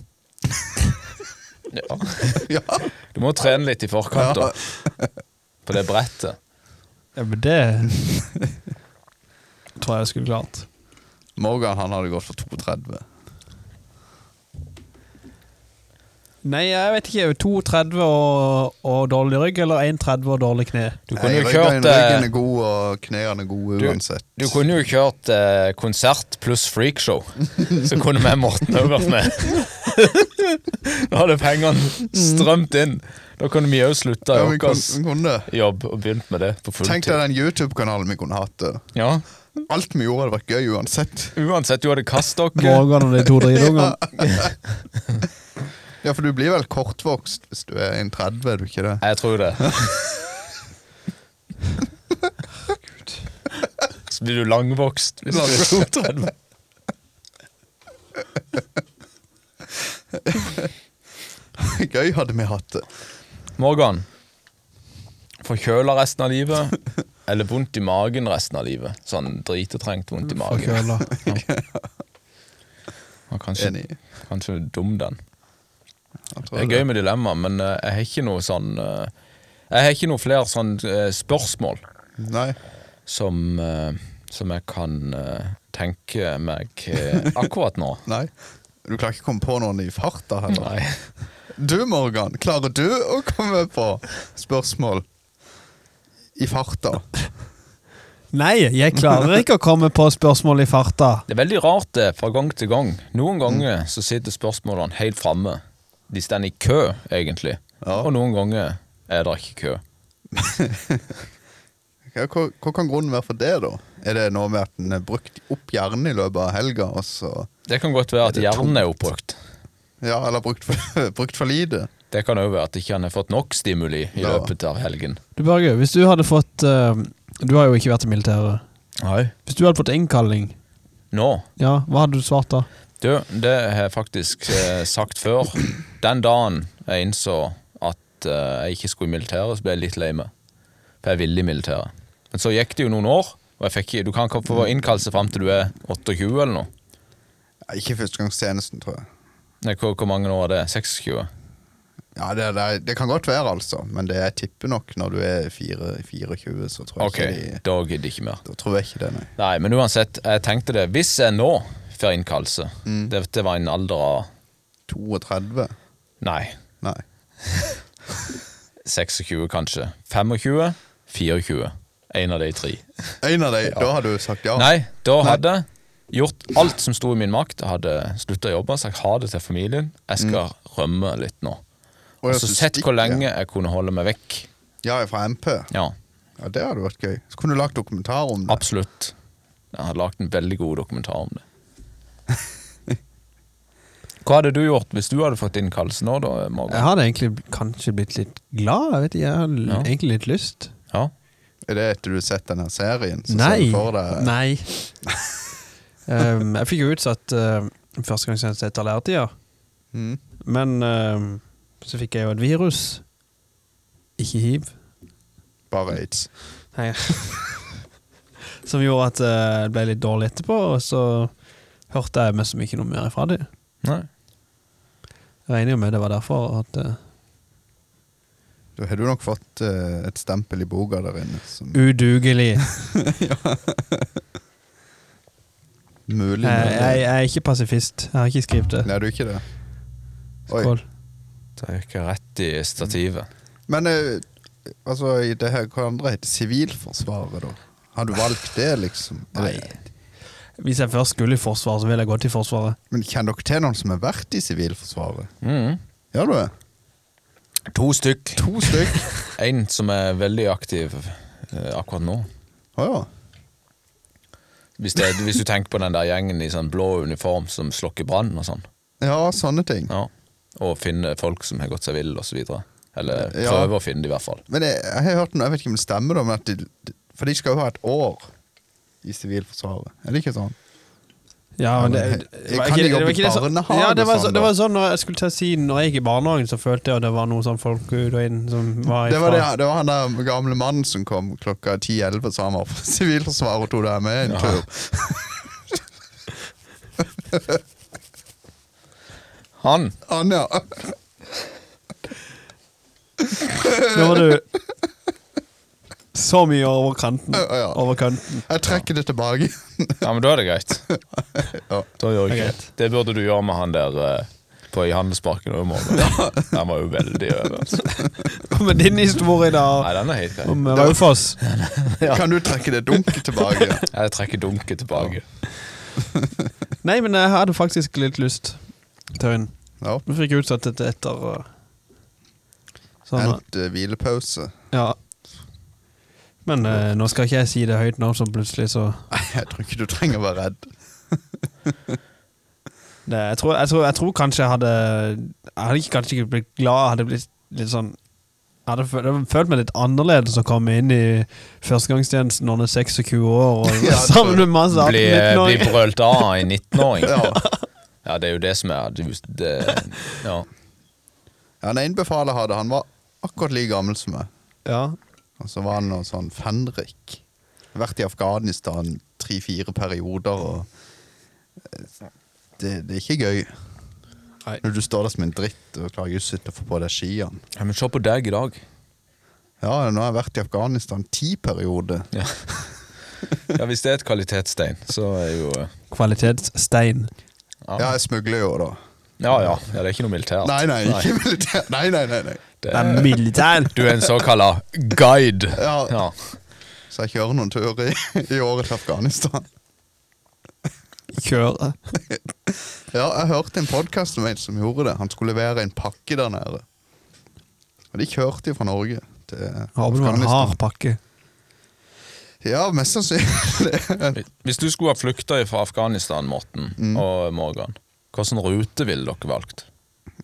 S3: Ja.
S2: ja.
S3: Du må trene litt i
S2: Ja.
S3: forkant, da. På det brettet.
S1: Ja, men det tror jeg jeg skulle klart.
S2: Morgan han hadde gått for 32.
S1: Nei, jeg vet ikke. 2,30 og, og dårlig rygg, eller 1,30 og dårlig kne?
S3: Du kunne jo
S2: Nei,
S3: kjørt
S2: ryggen, ryggen
S3: eh,
S2: er god, og knærne er gode
S3: Du-
S2: uansett.
S3: Du kunne jo kjørt eh, konsert pluss freakshow. Så kunne vi Morten òg vært med. Da hadde pengene strømt inn. Da kunne vi òg slutta
S2: ja,
S3: i
S2: vi
S3: vår
S2: kunne, vi kunne.
S3: jobb og begynt med det på
S2: Tenk deg
S3: fulltid.
S2: den YouTube-kanalen vi kunne hatt. da.
S3: Ja.
S2: Alt vi gjorde, hadde vært gøy uansett.
S3: Uansett, du hadde kastet dere.
S1: Morgan og de to dritungene.
S2: Ja, for du blir vel kortvokst hvis du er 1,30, er du ikke det?
S3: Jeg tror det. Så blir du langvokst hvis du er 32.
S2: Gøy hadde vi hatt det.
S3: Morgan. Forkjøla resten av livet, eller vondt i magen resten av livet? Sånn dritetrengt vondt i magen.
S1: Forkjøla.
S3: Ja, kanskje,
S2: Enig.
S3: kanskje dum, den.
S2: Jeg tror
S3: Det er gøy med dilemma, men eh, jeg har ikke noe sånn eh, Jeg har ikke noe flere sånn eh, spørsmål
S2: Nei.
S3: som, eh, som jeg kan eh, tenke meg eh, akkurat nå.
S2: Nei. Du klarer ikke å komme på noen i farta heller.
S3: Nei.
S2: Du, Morgan, klarer du å komme på spørsmål i farta?
S1: Nei, jeg klarer ikke å komme på spørsmål i farta.
S3: Det er veldig rart det, fra gang til gang. Noen
S2: Mm.
S3: ganger så sitter spørsmålene helt framme. De står i kø, egentlig.
S2: Ja.
S3: Og noen ganger er det ikke kø.
S2: Ja, hva, hva kan grunnen være for det, da? Er det noe med at en er brukt opp hjernen i løpet av helga, og så
S3: Det kan godt være at
S2: Er det
S3: hjernen er oppbrukt.
S2: Ja, eller brukt for, brukt for lite?
S3: Det kan òg være at ikke han har fått nok stimuli i
S2: Ja.
S3: løpet av helgen.
S1: Du Børge, hvis du hadde fått eh, Du har jo ikke vært i militæret.
S3: Nei.
S1: Hvis du hadde fått innkalling,
S3: Nå
S1: ja, hva hadde du svart da?
S3: Du, det har jeg faktisk eh, sagt før. Den dagen jeg innså at eh, jeg ikke skulle i militæret, så ble jeg litt lei meg. For jeg ville i militæret. Men så gikk det jo noen år, og jeg fikk, du kan ikke få
S2: Mm.
S3: innkallelse fram til du er 28 eller noe.
S2: Ja, ikke førstegangstjenesten, tror jeg.
S3: Nei, hvor, hvor mange år er det? 26?
S2: Ja, det, det, det kan godt være, altså, men det jeg tipper nok når du er fire- 24, så tror jeg
S3: Ok,
S2: ikke de,
S3: da gidder jeg ikke mer.
S2: Da tror jeg ikke det, nei.
S3: Nei, men uansett, jeg tenkte det. Hvis jeg nå får innkallelse det, det var en alder av
S2: 32?
S3: Nei,
S2: Nei.
S3: 26 kanskje. 25? 24? En av de tre.
S2: En av de, da har du sagt ja.
S3: Nei, da hadde jeg gjort alt som sto i min makt. Jeg hadde slutta å jobbe, sagt ha det til familien. Jeg skal rømme litt nå.
S2: Og
S3: Og Mm. så altså, sett hvor lenge jeg kunne holde meg vekk.
S2: Ja, jeg er fra MP.
S3: Ja,
S2: Ja, Det hadde vært gøy. Så kunne du lagt dokumentar om det.
S3: absolutt. Jeg hadde lagd en veldig god dokumentar om det. Hva hadde du gjort hvis du hadde fått innkallelse nå, da,
S1: Jeg
S3: Morgan?
S1: hadde egentlig kanskje blitt litt glad. Jeg vet ikke, jeg har l-
S3: Ja.
S1: egentlig litt lyst.
S3: Ja.
S2: Er det etter du har sett denne serien? Så
S1: Nei.
S2: Ser du for deg,
S1: Nei. um, jeg fikk jo utsatt uh, første gang jeg etter lærertida,
S2: Mm.
S1: men um, så fikk jeg jo et virus. Ikke hiv.
S2: Bare aids.
S1: Nei. Som gjorde at eh, jeg ble litt dårlig etterpå, og så hørte jeg mest som ikke noe mer ifra dem.
S3: Nei.
S1: Regner jo med det var derfor at eh,
S2: Da har du nok fått eh, et stempel i boka der inne som
S1: Udugelig.
S2: mulig.
S1: Jeg, Eh, jeg, jeg er ikke pasifist. Jeg har ikke skrevet det.
S2: Nei, du er ikke det. Oi.
S1: Skål.
S3: Da gikk jeg rett i stativet.
S2: Men eh, altså, i det her, hva andre heter Sivilforsvaret, da? Har du valgt det, liksom?
S1: Nei. Hvis jeg først skulle i Forsvaret, så ville jeg gått i Forsvaret.
S2: Men kjenner dere til noen som har vært i Sivilforsvaret?
S3: Mhm.
S2: Gjør du det?
S3: To stykk.
S2: To stykk.
S3: En som er veldig aktiv eh, akkurat nå.
S2: Å ja.
S3: Hvis, det, hvis du tenker på den der gjengen i sånn blå uniform som slokker brann og sånn.
S2: Ja, sånne ting.
S3: Ja. Og finner folk som har gått seg vill, osv. Eller
S2: Ja.
S3: prøver å finne det, i hvert fall.
S2: Men jeg, jeg har hørt noe, jeg vet ikke om det stemmer, da, men at de, de- for de skal jo ha et år i Sivilforsvaret. Er det ikke sånn?
S1: Ja, men det,
S2: Ja, men
S1: det,
S2: jeg-
S1: var
S2: kan
S1: ikke-
S2: de
S1: det var
S2: jobbe i
S1: ikke det som-
S2: barnehage
S1: Ja, det var,
S2: og
S1: så,
S2: sånn,
S1: det
S2: da?
S1: var sånn når jeg skulle til å si Når jeg gikk i barnehagen, så følte jeg at det var noen sånn folk ut og inn som var
S2: Det var, det,
S1: ifra
S2: det var han der gamle mannen som kom klokka 10-11, så han var fra Sivilforsvaret og tok deg med en
S3: Ja.
S2: tur.
S3: Han!
S2: Han, ja.
S1: Nå var du så mye over kanten.
S2: Ja, ja.
S1: Over kanten.
S2: Jeg trekker det tilbake.
S3: Ja, men da er det greit. Da gjør
S1: Det er
S3: jeg ikke det. Det burde du gjøre med han der eh, på i Handelsparken over morgenen. Han var jo veldig over. altså.
S1: Med din historie, da,
S3: Nei, den er helt grei.
S1: om eh, Raufoss
S2: Kan du trekke det dunket tilbake?
S3: Jeg trekker dunket tilbake.
S1: Nei, men jeg hadde faktisk litt lyst til en.
S2: Ja.
S1: Vi fikk utsatt dette etter uh, sånn,
S2: Helt eh, hvilepause.
S1: ja. Men eh, nå skal ikke jeg si det høyt nå, så plutselig så
S2: Nei, jeg tror ikke du trenger å være redd.
S1: det, jeg, tror, jeg, tror, jeg tror kanskje jeg hadde Jeg hadde ikke, kanskje ikke blitt glad, jeg hadde blitt litt sånn jeg hadde følt, jeg hadde følt meg litt annerledes å komme inn i førstegangstjenesten når man er 26 år og
S2: Ja,
S1: sammen med masse
S3: Bli,
S1: 18-19-åringer.
S3: bli brølt av av en 19-åring.
S2: Ja.
S3: Ja, det er jo det som er det, det, ja.
S2: Han ene befalet jeg hadde, han var akkurat like gammel som meg.
S1: Ja.
S2: Og så var han noe sånn fenrik. Vært i Afghanistan tre-fire perioder og eh, det, det er ikke gøy.
S1: Nei.
S2: Når du står der som en dritt og klarer ikke å sitte og få på deg skiene.
S3: Ja, Men se på deg i dag.
S2: Ja, nå har jeg vært i Afghanistan ti perioder.
S3: Ja. ja, hvis det er et kvalitetstegn, så er jo eh,
S1: Kvalitetsstein.
S2: Ja, jeg smugler jo, da.
S3: Ja, ja, ja det er ikke noe militært.
S2: Nei, nei, ikke militær. Nei, nei, nei, nei.
S1: Det er militær!
S3: Du er en såkalla guide.
S2: Ja. Så jeg kjører noen turer i, i året til Afghanistan.
S1: Kjøre.
S2: Ja, jeg hørte en podkast om en som gjorde det. Han skulle levere en pakke der nede. Og de kjørte jo fra Norge til
S1: Håper du har en hard pakke.
S2: Ja, mest sannsynlig.
S3: Hvis du skulle ha flykta fra Afghanistan, Morten
S2: Mm.
S3: og Morgan, hvilken rute ville dere valgt?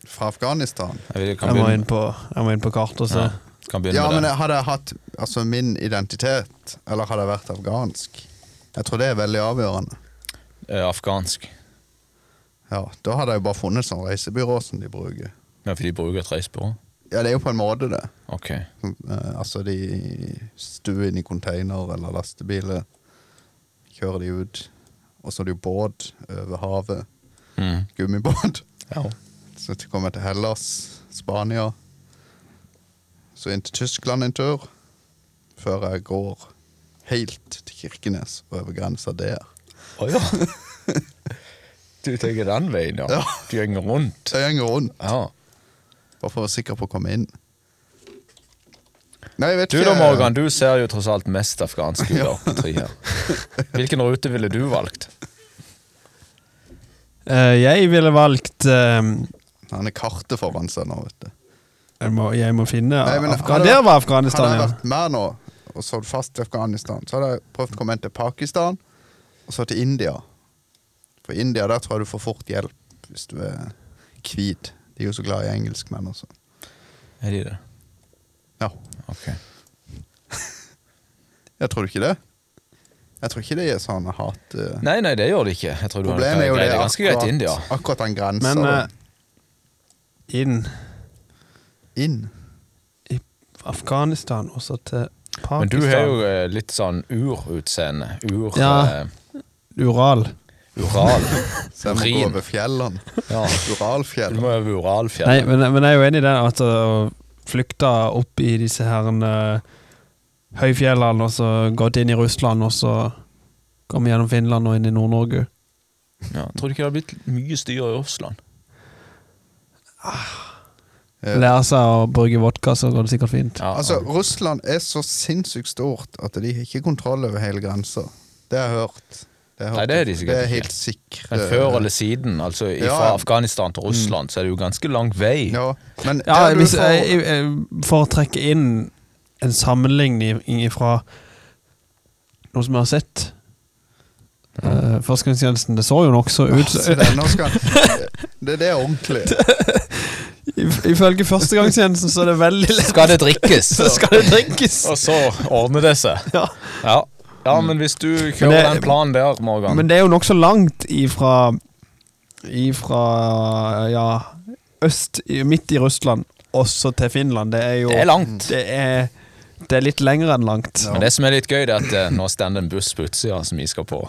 S2: Fra Afghanistan.
S3: Jeg vil, kan
S1: Jeg må
S3: begynne,
S1: inn på, jeg må inn på kartet og se.
S3: ja, kan begynne
S2: Ja,
S3: med
S2: men
S3: det.
S2: jeg- hadde jeg hatt altså, min identitet, eller hadde jeg vært afghansk? Jeg tror det er veldig avgjørende.
S3: Eh, Afghansk.
S2: Ja, Da hadde jeg jo bare funnet sånn reisebyrå som de bruker.
S3: Ja, for de bruker et reisebyrå.
S2: Ja, det er jo på en måte det.
S3: Ok.
S2: Eh, Altså, de stuer inn i container eller lastebiler, kjører de ut, og så er det jo båt over havet.
S3: Mm.
S2: Gummibåt.
S3: Ja.
S2: Så kom jeg til Hellas, Spania. Så inn til Tyskland en tur. Før jeg går helt til Kirkenes og over grensa der.
S3: Å ja. Du tenker den veien, ja.
S2: Ja.
S3: Du går rundt.
S2: Så jeg går rundt,
S3: Ja.
S2: bare for å være sikker på å komme inn. Nei, jeg vet
S3: Du
S2: ikke.
S3: da, Morgan, du ser jo tross alt mest afghansk ut av de tre her. Hvilken rute ville du valgt?
S1: Eh, jeg ville valgt eh,
S2: Han er karteforvansa nå, vet du.
S1: jeg, må, jeg må finne
S2: Nei, men
S1: Afghan
S2: hadde-
S1: Der var
S2: Hadde
S1: Afghanistan,
S2: jeg
S1: ja.
S2: vært med nå og stått fast i Afghanistan, så hadde jeg prøvd å komme inn til Pakistan, og så til India. For India, der tror jeg du får fort hjelp hvis du er hvit. De er jo så glad i engelskmenn og sånn.
S3: Er de det?
S2: Ja.
S3: Ok.
S2: Jeg tror ikke det. Jeg tror ikke det er sånn hat... eh,
S3: Nei, nei, det gjør de ikke. Jeg tror du har
S2: Problemet er jo det
S3: det er ganske greit i India.
S2: akkurat, akkurat den grensa
S1: Men
S2: da.
S1: eh, inn
S2: inn.
S1: i Afghanistan og så til Pakistan.
S3: Men du har jo eh, litt sånn urutseende. Ur...
S1: Ja.
S3: eh,
S1: Ural.
S3: ural.
S2: Så jeg må gå
S3: Urin.
S2: over fjellene.
S3: Ja. Du
S2: Uralfjell.
S3: må over
S1: Nei,
S3: Uralfjellet.
S1: men, men jeg er jo enig i det at eh, å flykte opp i disse herrene eh, høyfjellene og så gått inn i Russland og så komme gjennom Finland og inn i Nord-Norge.
S3: Ja. Tror du ikke det har blitt mye styr i Russland?
S2: Ja.
S1: Lære seg å bruke vodka, så går det sikkert fint.
S3: Ja,
S2: Altså, Russland er så sinnssykt stort at de har ikke kontroll over hele grensa. Det har jeg hørt. har jeg
S3: Nei, det er de sikkert
S2: Det er
S3: ikke.
S2: helt sikre
S1: eh,
S3: Men før eller siden, altså fra
S2: Ja.
S3: Afghanistan til Russland, så er det jo ganske lang vei.
S2: Ja, men
S1: Mm. Ja,
S2: der du
S1: hvis
S2: får-
S1: jeg, jeg, jeg får trekke inn en sammenligning fra noe som jeg har sett. Uh, Førstegangstjenesten, det så eh, jo nokså ut
S2: Se der, nå skal, det, det er ordentlig.
S1: I- Ifølge førstegangstjenesten så er det veldig lett
S3: Skal det drikkes,
S1: så skal det drikkes!
S3: og så ordner det seg.
S1: Ja.
S3: Ja, ja men hvis du
S1: Men
S3: kjører
S1: det-
S3: den planen der, Morgan
S1: Men det er jo nokså langt ifra Ifra ja øst, i- midt i Russland, også til Finland. Det er jo Mm,
S3: Det er langt.
S1: Det er, det er litt lengre enn langt.
S2: Ja.
S3: Men det som er litt gøy, det er at eh, nå står det en buss på utsida som vi skal på.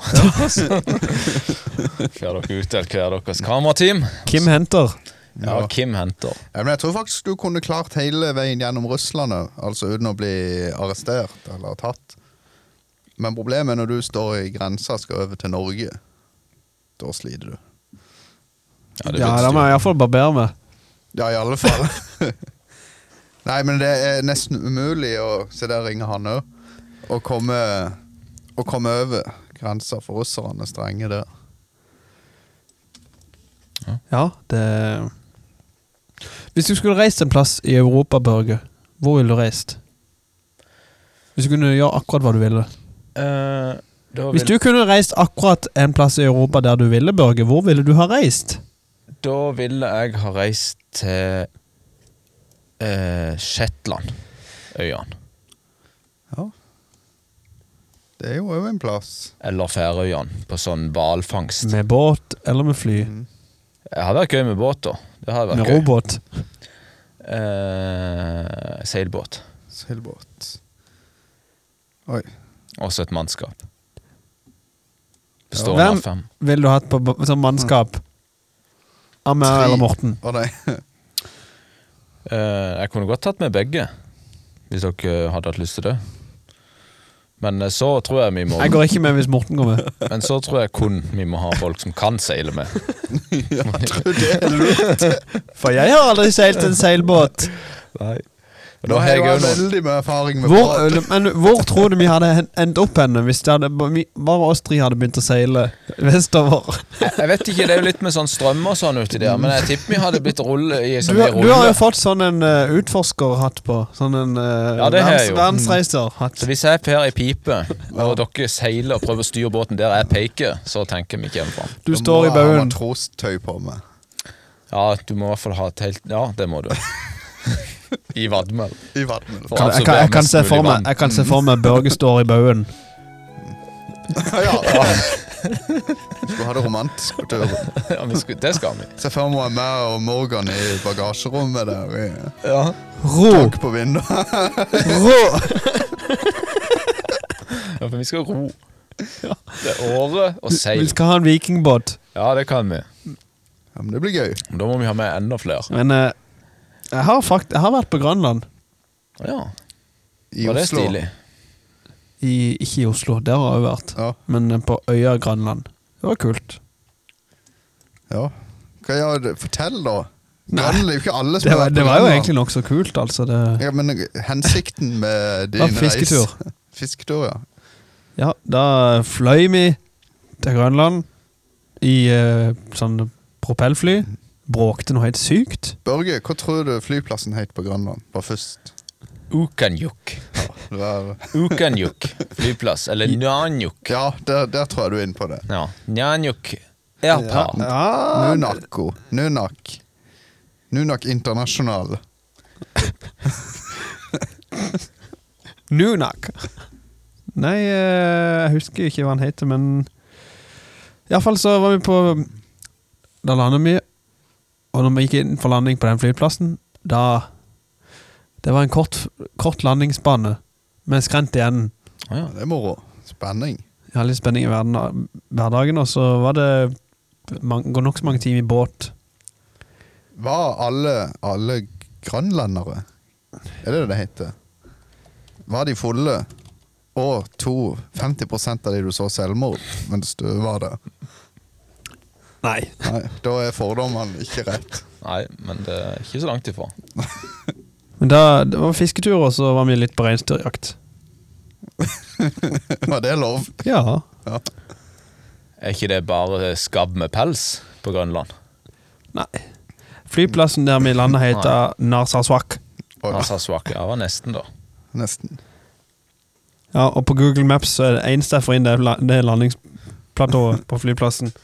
S3: Får dere utdelt hver deres kamerateam.
S1: Kim henter.
S3: Ja,
S2: Ja.
S3: Kim henter.
S2: Ja, men jeg tror faktisk du kunne klart hele veien gjennom Russland, ja. altså uten å bli arrestert eller tatt. Men problemet er når du står i grensa og skal over til Norge. Da sliter du.
S3: Ja, det blir
S1: Ja,
S3: et
S1: da må
S3: styr.
S1: jeg iallfall barbere meg.
S2: Ja, i alle fall. Nei, men det er nesten umulig å Se, der ringer han òg. Å komme, å komme over grensa for russerne er strenge der.
S1: Ja, det Hvis du skulle reist en plass i Europa, Børge, hvor ville du reist? Hvis du kunne gjøre akkurat hva du ville.
S3: Eh, da,
S1: Hvis
S3: vil,
S1: du kunne reist akkurat en plass i Europa der du ville, Børge, hvor ville du ha reist?
S3: da ville jeg ha reist til eh, Shetland. Øyene.
S2: Ja. Det er jo òg en plass.
S3: Eller Færøyene, på sånn hvalfangst.
S1: Med båt eller med fly?
S2: Mhm.
S3: Det hadde vært gøy med båt, da. Det hadde
S1: Med
S3: vært gøy.
S1: robåt?
S3: Eh, seilbåt.
S2: Seilbåt. Oi.
S3: Også et mannskap.
S1: Ja.
S3: Bestående
S1: Hvem-
S3: av fem.
S1: Ville du hatt på b- som mannskap? Av meg
S2: Tre.
S1: eller Morten?
S2: Å nei.
S3: Eh, jeg kunne godt tatt med begge, hvis dere hadde hatt lyst til det. Men eh, så tror jeg vi må
S1: Jeg går ikke med hvis Morten går med.
S3: Men så tror jeg kun vi må ha folk som kan seile med.
S2: Ja, jeg tror det er lurt.
S1: For jeg har aldri seilt en seilbåt.
S3: Nei. altså,
S2: Nå har jeg
S3: jeg
S2: jo
S3: noen,
S2: veldig mye erfaring med
S1: Hvor,
S2: båt.
S1: men hvor tror du vi hadde hen- endt opp henne hvis det hadde, vi- bare oss tre hadde begynt å seile vestover?
S3: jeg vet ikke, det er jo litt med sånn strøm og sånn uti der, men jeg tipper vi hadde blitt rulle
S1: Du,
S3: i
S2: Liksom,
S3: sånn
S1: har-
S3: rulle.
S1: du har jo fått sånn en eh, utforskerhatt på. Sånn en uh,
S3: Ja, det har jeg jo.
S1: verdensreiserhatt.
S2: Mm.
S3: Så hvis jeg fer i pipe, og dere seiler og prøver å styre båten der jeg peker, så tenker vi ikke hjemmefra.
S1: Du står i
S2: Jeg har
S1: baugen.
S2: matrostøy på meg.
S3: Ja, du må i hvert fall ha et helt Ja, det må du. I vadmel.
S2: I vannet.
S3: For-
S1: Jeg, kan- jeg, kan se for meg- jeg
S2: Mm.
S1: kan se for meg Børge står i baugen.
S2: Ja. Skulle ha det romantisk på turen.
S3: Ja, vi skal, det skal vi.
S2: Se for meg meg og Morgan i bagasjerommet der. i-
S3: Ja.
S1: Ro!
S2: Bank på vinduet.
S1: Ro!
S3: for vi skal ro. Det er åre og
S1: Vi
S3: seil.
S1: skal ha en vikingbåt.
S3: Ja, det kan vi.
S2: Ja, men det blir gøy.
S3: Men Da må vi ha med enda flere.
S1: Men eh, jeg, har fakt jeg har vært på Grønland.
S3: Ja,
S2: I
S3: var det
S2: Oslo.
S3: stilig?
S1: I, ikke i Oslo, der har jeg vært.
S2: Ja,
S1: Men eh, på øya Grønland. Det var kult.
S2: ja. Hva gjør det? Fortell, da.
S1: Nei.
S2: Grønland, det er jo ikke alle som
S1: Det
S2: har
S1: var,
S2: vært
S1: det
S2: på
S1: var jo
S2: Grønland.
S1: egentlig nokså kult, altså. Det
S2: ja, Men hensikten med din
S1: var
S2: reise
S1: fisketur.
S2: Fisketur, ja.
S1: Ja, da fløy vi til Grønland i eh, sånn propellfly. Bråkte noe helt sykt.
S2: Børge, hva tror du flyplassen het på Grønland? Bare først.
S3: Ukanjuk.
S2: Det var-
S3: Ukanjuk flyplass. Eller Njanjuk.
S2: Ja, der, der tror jeg du er inne på det.
S3: Ja. Njanjuk Airport.
S1: Ja,
S2: Nunako. Nunak. Nunak Internasjonal.
S1: Nunak. Nei, eh, jeg husker ikke hva han heter, men Iallfall så var vi på Da landet vi, og når vi gikk inn for landing på den flyplassen, da Det var en kort, kort landingsbane med skrent i enden.
S3: Å ja.
S2: Ja, det er moro. Spenning.
S1: Jeg har litt spenning i verden, hverdagen, og så var det man- går nokså mange timer i båt.
S2: Var alle, alle grønlendere Er det det det heter? Var de fulle? Og to 50 av de du så selvmord mens du var der?
S1: Nei.
S2: Nei, da er fordommene ikke rett.
S3: Nei, men det er ikke så langt ifra.
S1: Men da, det var fisketur, og så var vi litt på reinsdyrjakt.
S2: Var det lov?
S1: Ja.
S2: Ja.
S3: Er ikke det bare skabb med pels på Grønland?
S1: Nei. Flyplassen der vi landa, heter Narsarsuaq.
S2: Og,
S3: Narsarsuaq. Ja, var nesten, da.
S2: nesten.
S1: Ja, og på Google Maps så er det eneste jeg får inn, det er la- det er landingsplatået på flyplassen.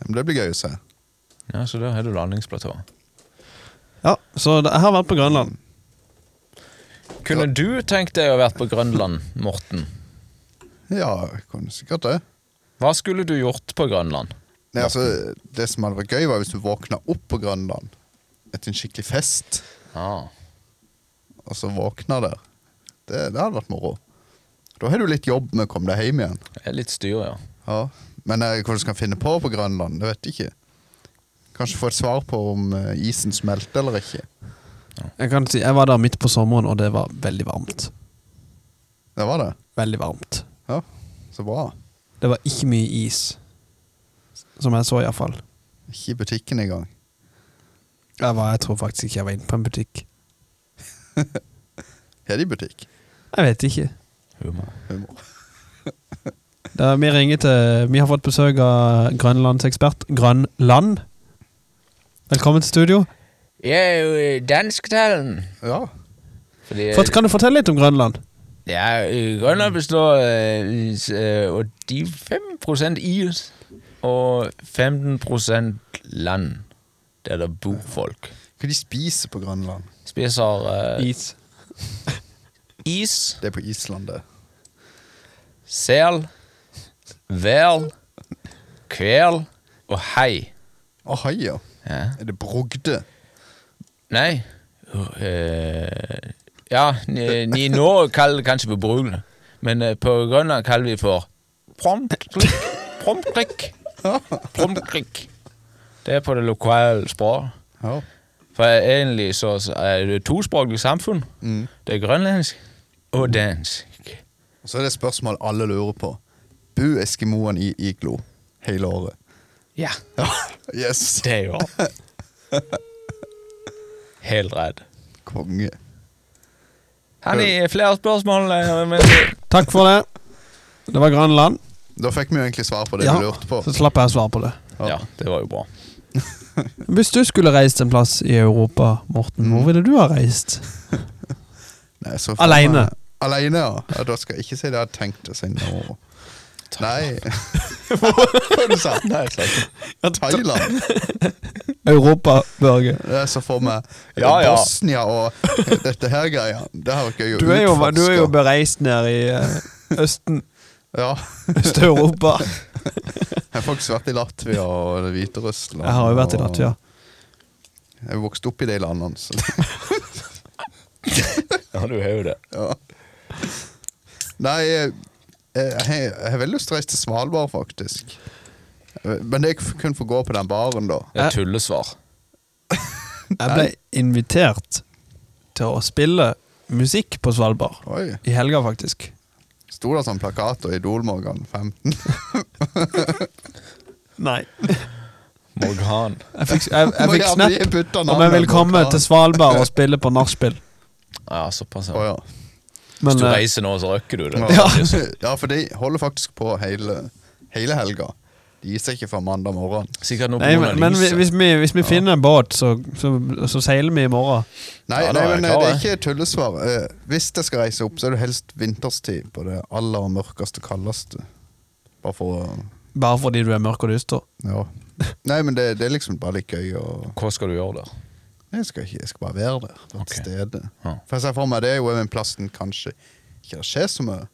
S2: Ja, Men det blir gøy å se.
S3: Ja, Så der har du landingsplatået.
S1: Ja, så det, jeg har vært på Grønland.
S3: Kunne du tenkt deg å vært på Grønland, Morten?
S2: Ja, kunne sikkert det.
S3: Hva skulle du gjort på Grønland?
S2: Nei, altså, det som hadde vært gøy, var hvis du våkna opp på Grønland etter en skikkelig fest,
S3: Ah.
S2: og så våkna der. Det, det hadde vært moro. Da har du litt jobb med å komme deg hjem igjen.
S3: det er Litt styr, ja.
S2: Ja, Men eh, hva du skal finne på på Grønland, det vet jeg ikke. Kanskje få et svar på om eh, isen smelter eller ikke.
S1: Jeg kan si, jeg var der midt på sommeren, og det var veldig varmt.
S2: Det var det.
S1: Veldig varmt.
S2: Ja, så bra.
S1: Det var ikke mye is. Som jeg så, iallfall.
S2: Ikke i butikken engang.
S1: Jeg, var- jeg tror faktisk ikke jeg var inne på en butikk.
S2: Er det i butikk?
S1: Jeg vet ikke.
S3: Humor.
S2: Humor.
S1: Da, Eh, vi ringer til Vi har fått besøk av grønlandsekspert Grønland. Velkommen til studio.
S3: Jeg er jo i dansktalen.
S2: Ja.
S3: Fordi
S1: Fort- kan du fortelle litt om Grønland?
S3: ja, øh, Grønland består af øh, de 5% is og 15% land, der der bor folk.
S2: Hva de spiser på Grønland?
S3: Spiser øh,
S1: Is.
S3: is,
S2: Det er på Island, det.
S3: sel, væl, kvæl og hei.
S2: Å, haier.
S3: Ja.
S2: Er det brogde?
S3: Nei. Øh, ja, ni, ni i Norge kaller det kanskje for brune, men øh, på Grønland kaller vi for promptrykk. Promptrykk. Promptrykk. Det er på det lokale språket.
S2: Ja.
S3: For egentlig så så er det et tospråklig samfunn.
S2: Mm.
S3: Det er grønlandsk og dansk.
S2: Og så er det et spørsmål alle lurer på. Bor eskimoene i iglo hele året?
S3: Ja,
S2: Ja. Yes.
S3: det gjør Helt rett.
S2: Konge.
S3: Han har flere spørsmål. øh, Men
S1: Takk for det. Det var Grønland.
S2: Da fikk vi jo egentlig svar på det vi lurte på.
S1: så slapp jeg å svare på det.
S3: ja, det var jo bra.
S1: Hvis du skulle reist en plass i Europa, Morten, hvor ville du ha reist?
S2: Nei, så får
S1: Alene.
S2: jeg- Alene, ja. ja. Da skal jeg ikke si det jeg hadde tenkt å si nå. Nei. Hva sa du? Nei, jeg sa ikke. Thailand.
S1: Europa, Børge.
S2: Det er så for meg
S3: Ja, ja.
S2: Bosnia og dette her greia. Det har ikke jeg jo
S1: Du er jo, du er jo
S2: utforska.
S1: bereist nede i eh, Østen.
S2: Ja.
S1: Øst-Europa.
S2: Jeg har faktisk vært i Latvia og Hviterussland.
S1: Jeg har jo vært i Latvia.
S2: og- Jeg vokste opp i de landene. Så.
S3: Ja, du har jo det.
S2: Ja. Nei, jeg, jeg, jeg, jeg har veldig lyst til å reise til Svalbard, faktisk. Eh, Men det er kun for å gå på den baren, da.
S3: Det er tullesvar.
S1: Jeg ble invitert til å spille musikk på Svalbard.
S2: Oi.
S1: I helga, faktisk.
S2: Sto det sånn plakat og Idol-Morgan 15?
S1: Nei.
S3: Morgan.
S1: Jeg fikk, jeg, jeg
S2: Må
S1: fikk
S2: gjerne gi
S1: snap
S2: putta
S1: om jeg
S2: navnet
S1: vil komme
S2: Morgan.
S1: til Svalbard og spille på nachspiel.
S3: Ja, såpass.
S2: Å,
S3: Ja.
S2: ja.
S1: Men
S3: Hvis du
S1: eh,
S3: reiser nå, så røkker du det.
S2: Ja. ja, for de holder faktisk på hele, hele helga. De gir seg ikke fra mandag morgen.
S3: Sikkert noe
S1: Nei, men, men vi- hvis vi, hvis vi finner en båt, så, så, så seiler vi i morgen.
S2: Nei,
S3: Ja, da
S2: nei
S3: er jeg
S2: men eh,
S3: klar,
S2: det er ikke tullesvar. Eh, Hvis jeg skal reise opp, så er det helst vinterstid på det aller mørkeste, kaldeste. Bare for å
S1: Bare fordi du er mørk og dyster.
S2: Ja. Nei, men det, det er liksom bare litt gøy å
S3: Hva skal du gjøre der?
S2: Jeg skal, ikke, jeg skal bare være der. Være
S3: Ok.
S2: til stede.
S3: Ja.
S2: For jeg ser for meg det er jo en plass den kanskje ikke det skjer så mye.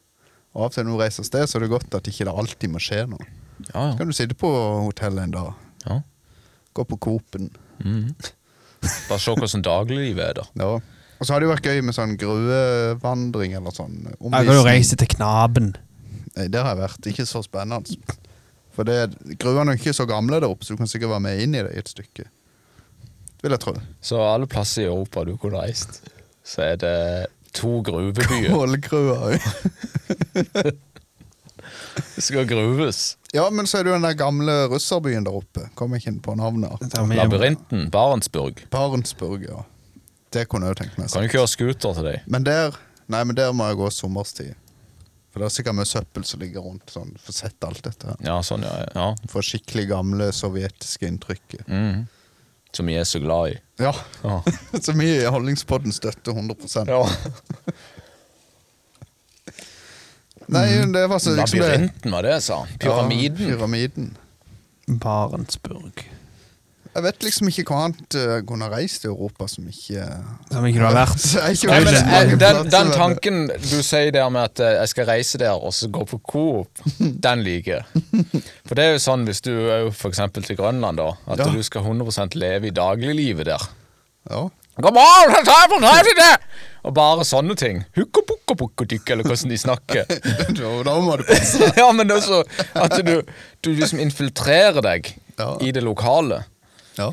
S2: Og av og til når du reiser av sted, så er det godt at ikke det alltid må skje noe.
S3: Ja,
S2: Så
S3: ja.
S2: kan du sitte på hotellet en dag.
S3: ja.
S2: Gå på Coop-en.
S3: Mhm. Bare se hvordan dagliglivet er der.
S2: Ja. Og så har det jo vært gøy med sånn gruevandring eller sånn.
S1: Jeg kan jo
S2: omvisning.
S1: reise til Knaben.
S2: Nei, der har jeg vært. Ikke så spennende. For det, gruene er ikke så gamle der oppe, så du kan sikkert være med inn i det i et stykke. Vil jeg tro.
S3: Så alle plasser i Europa du kunne reist, så er det to gruvebyer.
S2: Ålgrua.
S3: Det skal gruves.
S2: Ja, men så er det jo den der gamle russerbyen der oppe. Kommer ikke inn på navnet.
S1: Ja, men-
S3: Labyrinten. Barentsburg.
S2: Barentsburg, ja. Det kunne jeg jo tenkt meg.
S3: Kan du kjøre scooter til deg?
S2: Men der Nei, men der må jeg gå sommerstid. For det er sikkert mye søppel som ligger rundt. Sånn, Få sett alt dette her.
S3: Ja, sånn, ja. ja.
S2: Få skikkelig gamle sovjetiske inntrykket.
S3: Mhm. Som vi er så glad i.
S2: Ja.
S3: Ja.
S2: Så mye i Holdningspodden støtter 100
S3: ja.
S2: Nei, det var så liksom det.
S3: Labyrinten var det jeg sa.
S2: Ja,
S3: Pyramiden.
S2: pyramiden.
S1: Barentsburg.
S2: Jeg vet liksom ikke hva annet eh, kunne ha reist i Europa som ikke
S1: Som ikke du har vært.
S2: Så jeg ikke
S3: Nei, men,
S2: vært så mange
S3: eh, den,
S2: plasser,
S3: den
S2: men-
S3: tanken du sier der med at eh, jeg skal reise der og så gå på Coop, den liker jeg. For det er jo sånn hvis du er jo for eksempel til Grønland, da, at
S2: Ja.
S3: du skal 100 leve i dagliglivet der.
S2: Ja.
S3: Kom an, ta ta på den her siden! Og bare sånne ting. Hukkapukkapukkatikk, eller hvordan de snakker.
S2: da, da må du passe deg.
S3: ja, men også at du, du liksom infiltrerer deg
S2: Ja.
S3: i det lokale.
S2: Ja.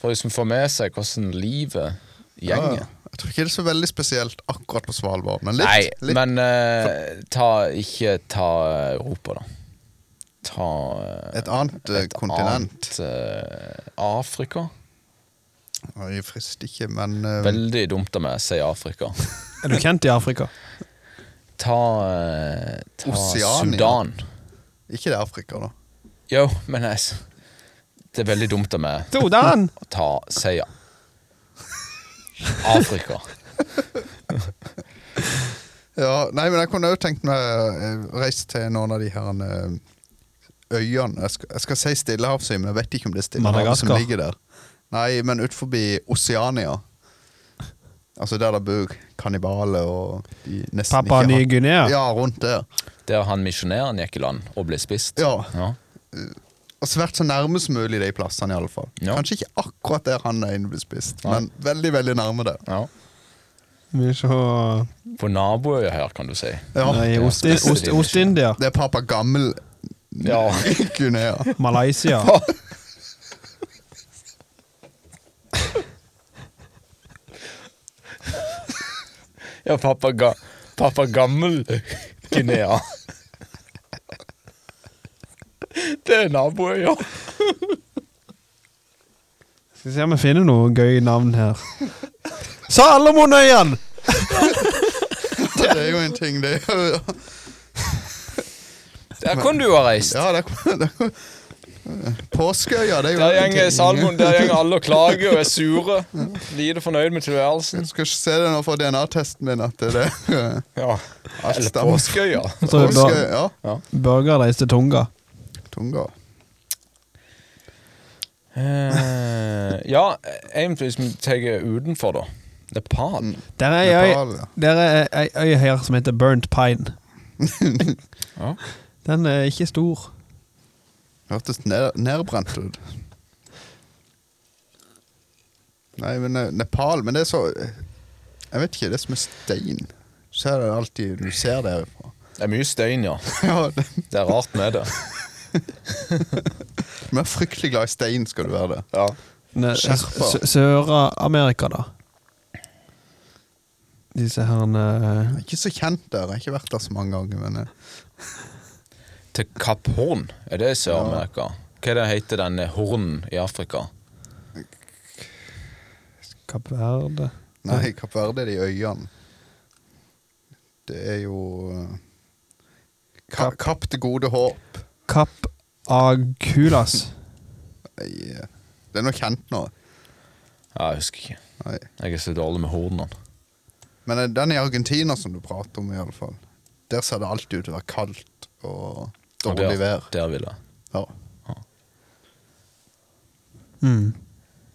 S3: For de som får med seg hvordan livet gjenger.
S2: Ja, Jeg tror ikke det er så veldig spesielt akkurat på Svalbard, men litt.
S3: Nei,
S2: litt.
S3: men eh, ta, ikke ta eh, Europa, da. Ta eh,
S2: Et annet eh, kontinent.
S3: annet, eh, Afrika.
S2: Annet. Jeg frister ikke, men eh,
S3: Veldig dumt av meg å si Afrika.
S1: Er du kjent i Afrika?
S3: Ta, eh, ta
S2: Oseania.
S3: Sudan.
S2: ikke det er Afrika, da.
S3: Jo, men jeg, s- det er veldig dumt av meg
S1: Dodan!
S3: å ta Seia. Afrika.
S2: Ja, nei, men jeg kunne òg tenkt meg eh, å reise til noen av de her eh, øyene Jeg skal, jeg skal si Stillehavsøy, men jeg vet ikke om det er Stillehavet som
S1: Madagaskar.
S2: ligger der. Nei, men ut forbi Oseania. Altså der det bor kannibaler og de nesten
S1: Papua
S2: ikke har-
S1: Ny-Guinea.
S2: Ja, rundt der.
S3: Der han misjonæren gikk i land og ble spist.
S2: Ja.
S3: Ja.
S2: Altså vært så nærme som mulig de plassene, iallfall.
S3: Ja.
S2: Kanskje ikke akkurat der han er inne ble spist,
S3: Nei.
S2: men veldig, veldig nærme der.
S3: ja.
S1: Vi så
S3: På naboøya her, kan du si.
S2: Ja.
S1: Nei, Ost-
S3: Ja, så-
S1: Ost- Ost-India.
S2: Det er Papa Gammel
S3: Ja.
S2: Guinea.
S1: Malaysia.
S3: Ja, pappa, ga, pappa gammel Guinea. Det er naboøya.
S1: Skal vi se om vi finner noe gøy navn her. Salomonøyene!
S2: Det er jo en ting, det. er jo-
S3: Der kunne du ha reist.
S2: Ja, det er, det er, Påskeøya, det er jo
S3: Der
S2: en
S3: gjenger
S2: ting.
S3: Salmon, der gjenger alle og klager og er sure. Lite fornøyd med tilværelsen.
S2: Jeg skal ikke se det nå fra DNA-testen min at det er det.
S3: Ja.
S2: Alt
S3: Eller
S2: stemmer.
S3: påskeøya.
S1: Så det er
S2: Påskeøya, ja.
S1: Børger reiste til Tunga.
S2: Tunga.
S3: Eh, ja, egentlig hvis vi tar utenfor, da. Nepal.
S1: Der er ei øy,
S2: Nepal, ja.
S1: der er ei øy her som heter Burnt Pine.
S3: Ja.
S1: Den er ikke stor.
S2: Hørtes ned, nedbrent ut. Nei, men eh, Nepal Men det er så Jeg vet ikke, det er som en stein. Så er det alltid Du ser det herfra.
S3: Det er mye stein, ja.
S2: Ja, det,
S3: Det er rart med det.
S2: du er fryktelig glad i stein, skal du være det.
S3: Ja.
S1: Ne-
S2: Skjerpa.
S1: Sø- Sør-Amerika, da. Disse eh, herne
S2: Jeg er ikke så kjent der. Jeg har ikke vært der så mange ganger. Men eh,
S3: Til Kapp Horn. Er det i Sør-Amerika? Hva er det heter den hornen i Afrika?
S1: Kapp Verde
S2: nei, Kapp Verde er de øyene. Det er jo eh, Ka Kapp det gode håp.
S1: Kapp Agulas.
S2: Nei, eh, det er noe kjent nå.
S3: Ja, jeg husker ikke.
S2: Nei.
S3: Jeg er så dårlig med hornene.
S2: Men eh, den i Argentina som du prater om, i alle fall der ser det alltid ut til å være kaldt og
S3: Og
S2: dårlig
S3: der,
S2: vær.
S3: der vil jeg.
S2: Ja.
S1: Mm.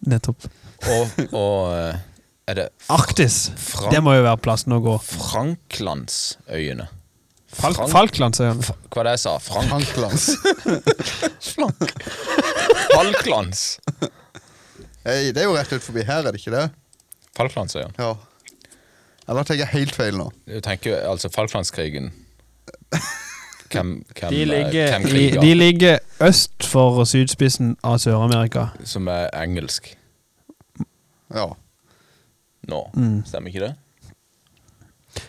S1: Nettopp.
S3: Og, og eh, er det
S1: Arktis!
S3: Frank-
S1: Det må jo være plassen å gå.
S3: Franklandsøyene?
S1: Falk
S3: Frank-
S1: Falklandsøyene.
S3: F- Hva var det jeg sa? Frank
S2: Franklands.
S3: Falklands!
S2: Hei, det er jo rett ut forbi her, er det ikke det?
S3: Falklandsøyene.
S2: Ja. Eller tar jeg helt feil nå?
S3: Du tenker altså Falklandskrigen Hvem, hvem,
S1: De
S3: eh,
S1: ligger,
S3: hvem
S1: de,
S3: kriger
S1: de ligger øst for sydspissen av Sør-Amerika.
S3: som er engelsk
S2: Ja.
S3: nå?
S1: Mm.
S3: Stemmer ikke det?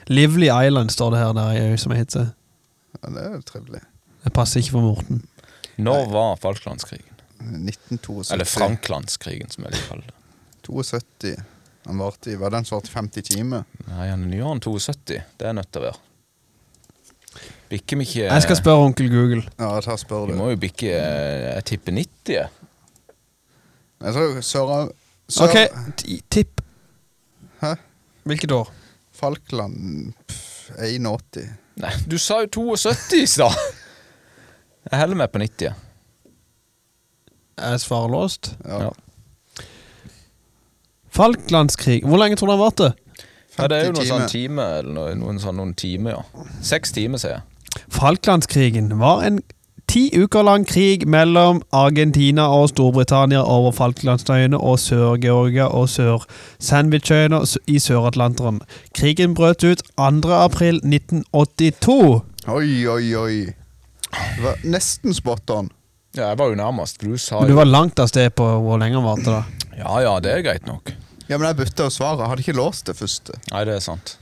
S1: Lively Island står det her, der er ei øy som heter.
S2: ja det er jo trivelig.
S1: Det passer ikke for Morten.
S3: Når var Falklandskrigen?
S2: 1972.
S3: Eller Franklandskrigen, som jeg liker å kalle det.
S2: 72. Han varte i, var den som varte i 50 timer?
S3: Nei, han er nyere enn 72. Det er nødt til å være. Bikker vi ikke
S1: Jeg skal spørre onkel Google.
S2: Ja, jeg tar og spør
S3: Vi
S2: du.
S3: må jo bikke eh, Jeg tipper 90. jeg.
S2: Jeg tror Sør... Sør
S1: Ok, ti- tipp.
S2: Hæ?
S1: Hvilket år?
S2: Falkland pff, 81.
S3: Nei, du sa jo 72 i stad! Jeg heller meg på 90. jeg.
S1: Er svaret låst?
S2: Ja.
S3: Ja.
S1: Falklandskrig. Hvor lenge tror du han varte?
S3: Ja, det er jo
S2: 50
S3: noen
S2: timer.
S3: sånn time, eller noe, noen sånn noen time, ja. Seks timer, sier jeg.
S1: Falklandskrigen var en ti uker lang krig mellom Argentina og Storbritannia over Falklandsøyene og Sør-Georgia og Sør-Sandwichøyene i Sør-Atlanteren. Krigen brøt ut 2. april 1982.
S2: Oi, oi, oi. Det var nesten spot on.
S3: Ja, jeg var jo nærmest. Du sa
S1: Men du
S3: jo
S1: var langt av sted på hvor lenge han varte, da.
S3: Ja ja, det er greit nok.
S2: Ja, men jeg bytta jo svaret. Jeg hadde ikke låst det første.
S3: Nei, det er sant.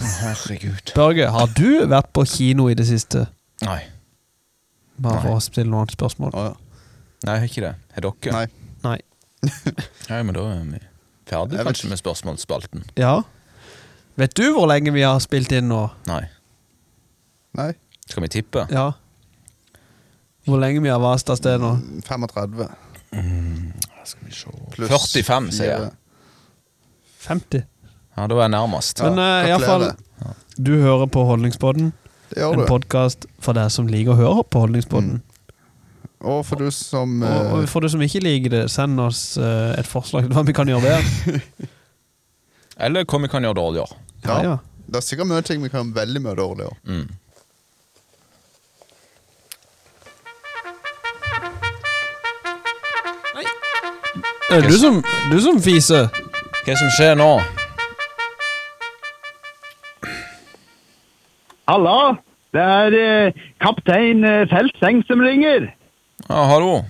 S3: Å, Herregud.
S1: Børge, har du vært på kino i det siste?
S3: Nei.
S1: Bare
S3: Nei.
S1: for å stille noen spørsmål.
S2: Å, ja.
S3: Nei, jeg har ikke det. Har dere?
S2: Nei.
S1: Nei.
S3: Nei, men da er vi
S2: Jeg
S3: ferdig
S2: vet
S3: kanskje med spørsmålsspalten.
S1: Ja. Vet du hvor lenge vi har spilt inn nå?
S3: Nei.
S2: Nei.
S3: Skal vi tippe?
S1: Ja. Hvor lenge vi har vært av sted nå?
S2: 35
S3: Skal vi se
S2: pluss
S3: 45, sier jeg.
S2: fire.
S1: 50.
S3: Ja, da var jeg nærmest.
S1: Men
S2: Ja,
S1: eh, i hvert fall
S2: gratulerer.
S1: Du hører på Holdningspodden.
S2: Det gjør
S1: En
S2: du.
S1: podkast for deg som liker å høre på Holdningspodden.
S2: Og for du som
S1: Og, og
S2: eh,
S1: for du som ikke liker det, send oss eh, et forslag til hva vi kan gjøre bedre.
S3: Eller hva vi kan gjøre dårligere.
S1: Ja,
S2: Ja.
S1: ja.
S2: Det er sikkert mye ting vi kan veldig mye dårligere.
S3: Mm.
S1: Eh, Du som, du som fiser.
S3: Hva som skjer nå?
S4: Hallo, det er eh, kaptein eh, Feltseng som ringer.
S3: Ja, hallo?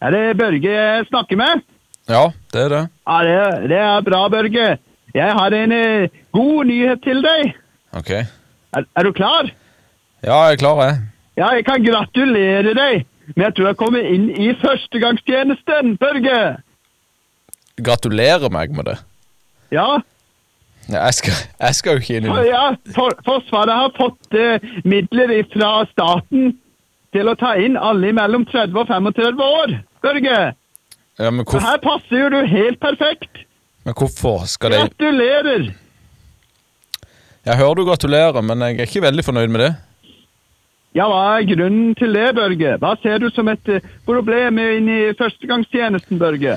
S4: Er det Børge jeg snakker med?
S3: Ja, det er det.
S4: Ja, det, det er bra, Børge. Jeg har en eh, god nyhet til deg.
S3: Ok.
S4: Er, er du klar?
S3: Ja, jeg er klar, jeg.
S4: Ja, jeg kan gratulere deg med at du har kommet inn i førstegangstjenesten, Børge.
S3: Gratulerer meg med det.
S4: Ja,
S3: Ja, jeg, skal, jeg skal jo ikke inn i
S4: for,
S3: det.
S4: ja for, Forsvaret har fått eh, midler fra staten til å ta inn alle mellom 30 og 35 år, Børge.
S3: Ja, men,
S4: Så
S3: hvorf-
S4: her passer jo du helt perfekt.
S3: men hvorfor skal de
S4: Gratulerer!
S3: Jeg hører du gratulerer, men jeg er ikke veldig fornøyd med det.
S4: Ja, hva er grunnen til det, Børge? Hva ser du som et eh, problem inn i førstegangstjenesten, Børge?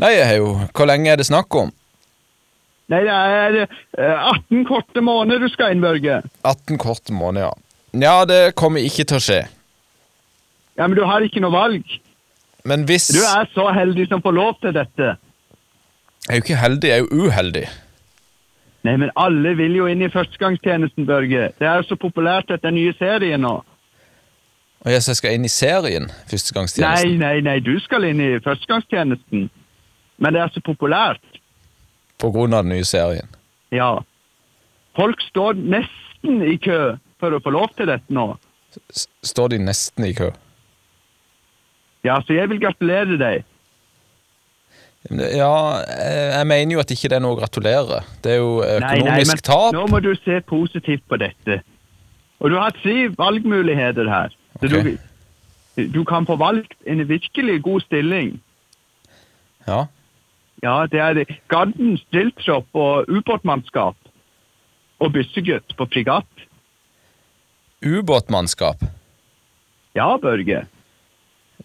S3: Nei, jeg har jo Hvor lenge er det snakk om?
S4: Nei, det er eh, 18 korte måneder du skal inn, Børge.
S3: 18 korte måneder, ja. Ja, det kommer ikke til å skje.
S4: Ja, men du har ikke noe valg.
S3: Men hvis
S4: Du er så heldig som får lov til dette.
S3: Jeg er jo ikke heldig, jeg er jo uheldig.
S4: Nei, men alle vil jo inn i førstegangstjenesten, Børge. Det er jo så populært dette nye serien nå.
S3: Og jeg, så jeg skal inn i serien
S4: Nei,
S3: Førstegangstjenesten.
S4: nei, nei, du skal inn i førstegangstjenesten. Men det er så populært.
S3: På grunn av den nye serien.
S4: Ja. Folk står nesten i kø for å få lov til dette nå.
S3: S står de nesten i kø.
S4: Ja, så jeg vil gratulere deg.
S3: Men det- Ja, eh, jeg, jeg mener jo at ikke det er noe å gratulere. Det er jo
S4: Nei, nei,
S3: økonomisk
S4: men
S3: tap.
S4: Nå må du se positivt på dette. Og du har tre valgmuligheter her. Så
S3: Ok.
S4: du, du kan få valgt en virkelig god stilling.
S3: Ja.
S4: Ja, det er garden, stiltropp og ubåtmannskap. Og byssegutt på fregatt.
S3: Ubåtmannskap.
S4: Ja, Børge.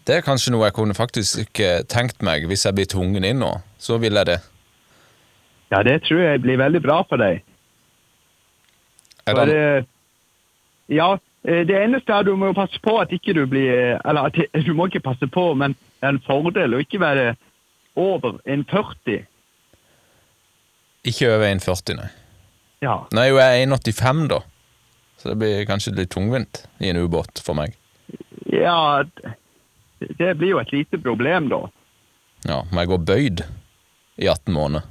S3: Det er kanskje noe jeg kunne faktisk ikke tenkt meg hvis jeg blir tvungen inn nå. Så vil jeg det.
S4: Ja, det tror jeg blir veldig bra for deg.
S3: Er
S4: For,
S3: det
S4: eh, ja, eh, det eneste er du må jo passe på at ikke du blir eh, Eller at du må ikke passe på, men det er en fordel å ikke være over en 40.
S3: ikke over 1,40, nei.
S4: Ja.
S3: Nå er jo jeg 1,85, da. Så det blir kanskje litt tungvint i en ubåt for meg.
S4: ja d- Det blir jo et lite problem, da.
S3: Ja, Må jeg gå bøyd i 18 måneder?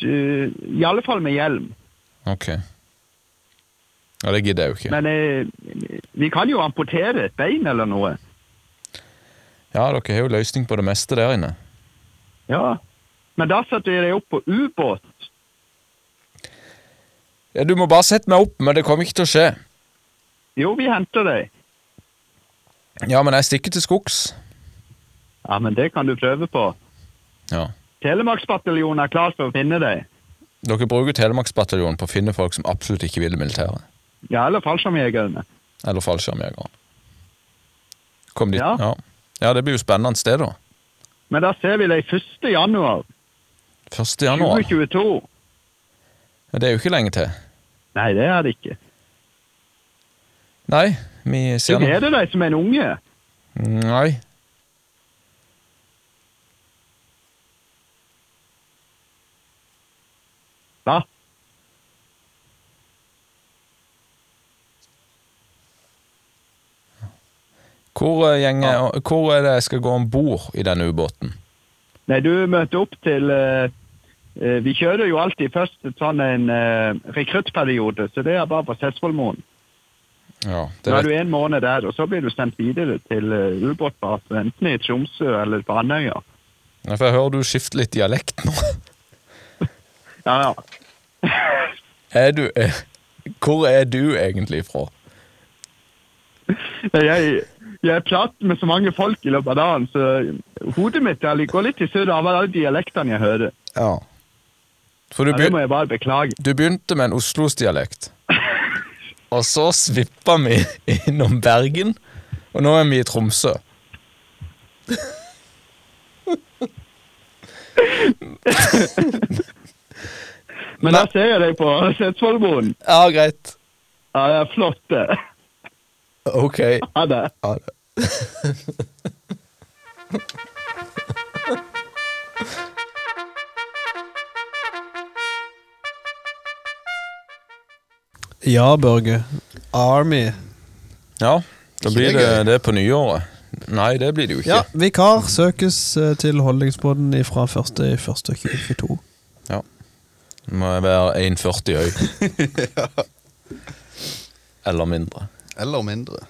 S4: Du- I alle fall med hjelm.
S3: Ok. Ja, det gidder jeg jo ikke.
S4: Men eh, vi kan jo amputere et bein eller noe.
S3: Ja, dere har jo løsning på det meste der inne.
S4: Ja. Men da setter vi deg opp på ubåt.
S3: Ja, du må bare sette meg opp, men det kommer ikke til å skje.
S4: Jo, vi henter deg.
S3: Ja, men jeg stikker til skogs.
S4: Ja, men det kan du prøve på.
S3: Ja.
S4: Telemarksbataljonen er klar for å finne deg.
S3: Dere bruker Telemarksbataljonen på å finne folk som absolutt ikke vil i militæret.
S4: Ja, eller fallskjermjegerne.
S3: Eller fallskjermjegeren. Kom dit.
S4: Ja.
S3: Ja. ja, det blir jo spennende sted, da.
S4: Men da ser vi deg 1. januar
S3: 1. januar.
S4: 2022.
S3: Ja, det er jo ikke lenge til.
S4: Nei, det er det ikke.
S3: Nei, vi
S4: Du
S3: ser nå
S4: gleder deg som en unge.
S3: Nei.
S4: Hva?
S3: Hvor, eh, gjenger- hvor er det jeg skal gå om bord i denne ubåten?
S4: Nei, du møter opp til eh, eh, Vi kjører jo alltid først en sånn en eh, rekruttperiode, så det er bare på Setsvollmoen.
S3: Ja, det
S4: Da er
S3: vet,
S4: du en måned der, og så blir du sendt videre til eh, ubåtbase, enten i Tromsø eller på Andøya.
S3: Ja, for jeg hører du skifter litt dialekt nå.
S4: Ja, ja.
S3: Er du, eh, hvor er du egentlig fra?
S4: Nei, Jeg, jeg prater med så mange folk i løpet av dagen, så hodet mitt jeg går litt i surr av alle dialektene jeg hører.
S3: Ja. For du,
S4: Ja, det må
S3: begyn
S4: jeg bare beklage.
S3: du begynte med en Oslos-dialekt. Og så svippa vi innom Bergen, og nå er vi i Tromsø.
S4: Men da ser jeg deg på Setsvollmoen.
S3: Ja, greit.
S4: Ja, det er flott, det.
S3: Ok.
S4: Ha det.
S3: Ha det.
S1: Ja, Børge. Army.
S3: Ja, da blir
S2: det
S3: det
S2: gøy?
S3: det på nyåret. Nei, det blir det jo ikke.
S1: Ja, vikar søkes eh, til Holdningsbåten fra 1.1.2022.
S3: Ja. Må jeg være 1,40 høy. Eller mindre.
S2: Eller mindre.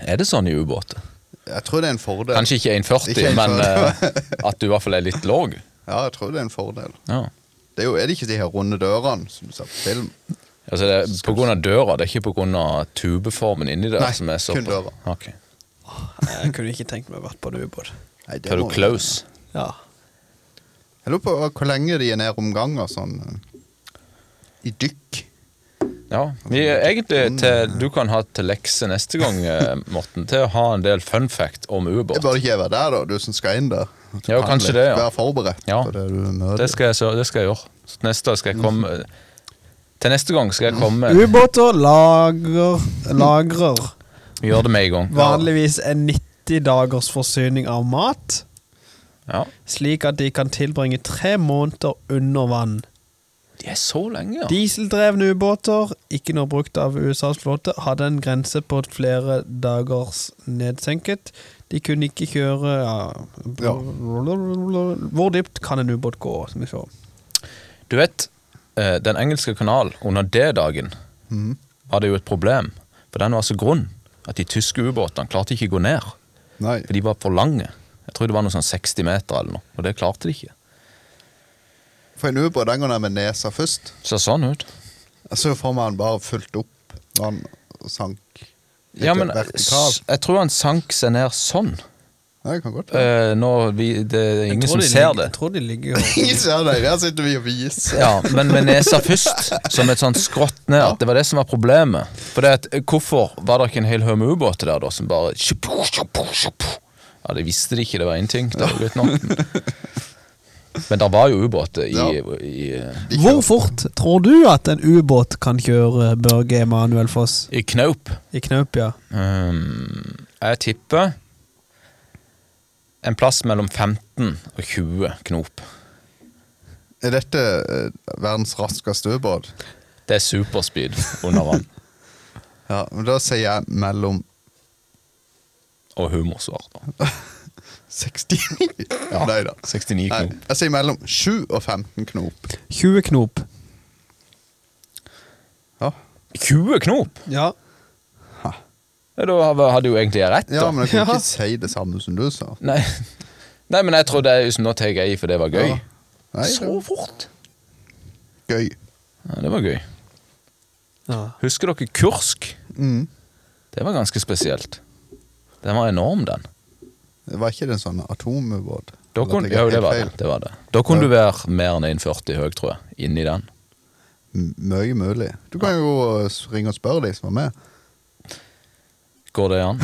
S3: Er det sånn i ubåter?
S2: Jeg tror det er en fordel.
S3: Kanskje ikke 1,40,
S2: Ikke 1,40.
S3: men eh, at du i hvert fall er litt låg.
S2: Ja, jeg tror det er en fordel.
S3: Ja.
S2: Det er jo er det ikke de her runde dørene som du ser på film?
S3: Altså det er på grunn av døra, det er ikke på grunn av tubeformen inni der?
S2: Nei,
S3: som er så
S2: kun døra.
S3: Ok.
S1: Jeg kunne ikke tenkt meg å vært på en ubåt.
S2: Nei, det
S3: Hva er du
S2: må-
S3: close?
S1: Ja.
S2: Jeg lurer på hvor lenge de er nede om ganger sånn eh, i dykk.
S3: Ja, vi er
S2: Sånn,
S3: egentlig
S2: eh.
S3: til, Du kan ha til lekse neste gang, eh, Morten, til å ha en del fun fact om
S2: Det
S3: ubåt.
S2: bør ikke jeg være der, da, du som skal inn der. At du
S3: Ja,
S2: kan
S3: kanskje
S2: litt
S3: det, ja.
S2: Være forberedt
S3: Ja.
S2: på det du møter.
S3: Det skal jeg, så, det skal jeg gjøre. Så neste skal jeg komme
S2: Mm.
S3: Til neste gang skal jeg komme
S1: Ubåter lager, lagrer
S3: Gjør det med en gang.
S1: vanligvis en 90 dagers forsyning av mat,
S3: Ja.
S1: slik at de kan tilbringe tre måneder under vann.
S3: De er så lenge, ja.
S1: Dieseldrevne ubåter, ikke noe brukt av USAs flåte, hadde en grense på flere dagers nedsenket. De kunne ikke kjøre ja,
S2: Ja.
S1: Hvor dypt kan en ubåt gå? Skal vi se.
S3: Du vet, eh, Den engelske kanal under D-dagen var det jo et problem. For den var så grunn at de tyske ubåtene klarte ikke å gå ned.
S2: Nei.
S3: For de var for lange. Jeg tror det var noe sånn 60 meter eller noe, og det klarte de ikke.
S2: For en ubåt den går ned med nesa først.
S3: Så sånn ut.
S2: Jeg så for meg han bare fulgte opp når han sank.
S3: Ja, men eh,
S2: vertikalt.
S3: s- jeg tror han sank seg ned sånn.
S2: Ja, det kan godt være.
S3: Eh, nå, vi, det er ingen
S1: Jeg tror
S3: som
S1: de
S3: ser
S1: ligger-
S3: det.
S1: Jeg tror de ligger
S2: Ingen ser deg, der sitter vi og viser.
S3: Ja, men med nesa først, som et sånt skrått ned. At det var det som var problemet. For det at, eh, hvorfor var det ikke en hel haug med ubåter der, da, som bare Ja, det visste de ikke, det var én ting. Det var litt nok. Men det var jo ubåter i,
S2: Ja.
S3: i,
S2: De
S1: Hvor
S2: kjører-
S1: fort tror du at en ubåt kan kjøre Børge Emanuel Foss
S3: i knaup.
S1: i knaup, ja?
S3: Um, jeg tipper en plass mellom 15 og 20 knop.
S2: Er dette eh, verdens raskeste ubåt?
S3: Det er superspeed under vann.
S2: Ja, men da sier jeg mellom
S3: Og humorsvar, da.
S2: 69
S3: Ja,
S2: Nei da. Nei,
S3: 69 knop.
S2: jeg sier mellom 7 og 15 knop.
S1: 20 knop.
S2: Ja,
S3: 20 knop?!
S1: Ja.
S3: Ja, Da hadde jo egentlig jeg rett, da.
S2: ja men jeg kan
S1: Ja.
S2: ikke si det samme som du sa.
S3: Nei. Nei, men jeg trodde jeg, Nå tar jeg i, for det var gøy.
S2: Ja. Nei, det
S3: Så
S2: var
S3: fort!
S2: gøy.
S3: Ja, det var gøy.
S1: ja.
S3: Husker dere Kursk?
S2: Mm.
S3: Det var ganske spesielt. Den var enorm, den.
S2: Det var ikke det en sånn atomubåt?
S3: Da
S2: Eller
S3: kunne,
S2: tok jeg
S3: jo, det
S2: helt
S3: var
S2: feil?
S3: det, det var det. Da kunne du være mer enn 1,40 høy, tror jeg. Inni den.
S2: M- Mye mulig. Du kan jo eh, s- ringe og spørre de som var med.
S3: Går det an?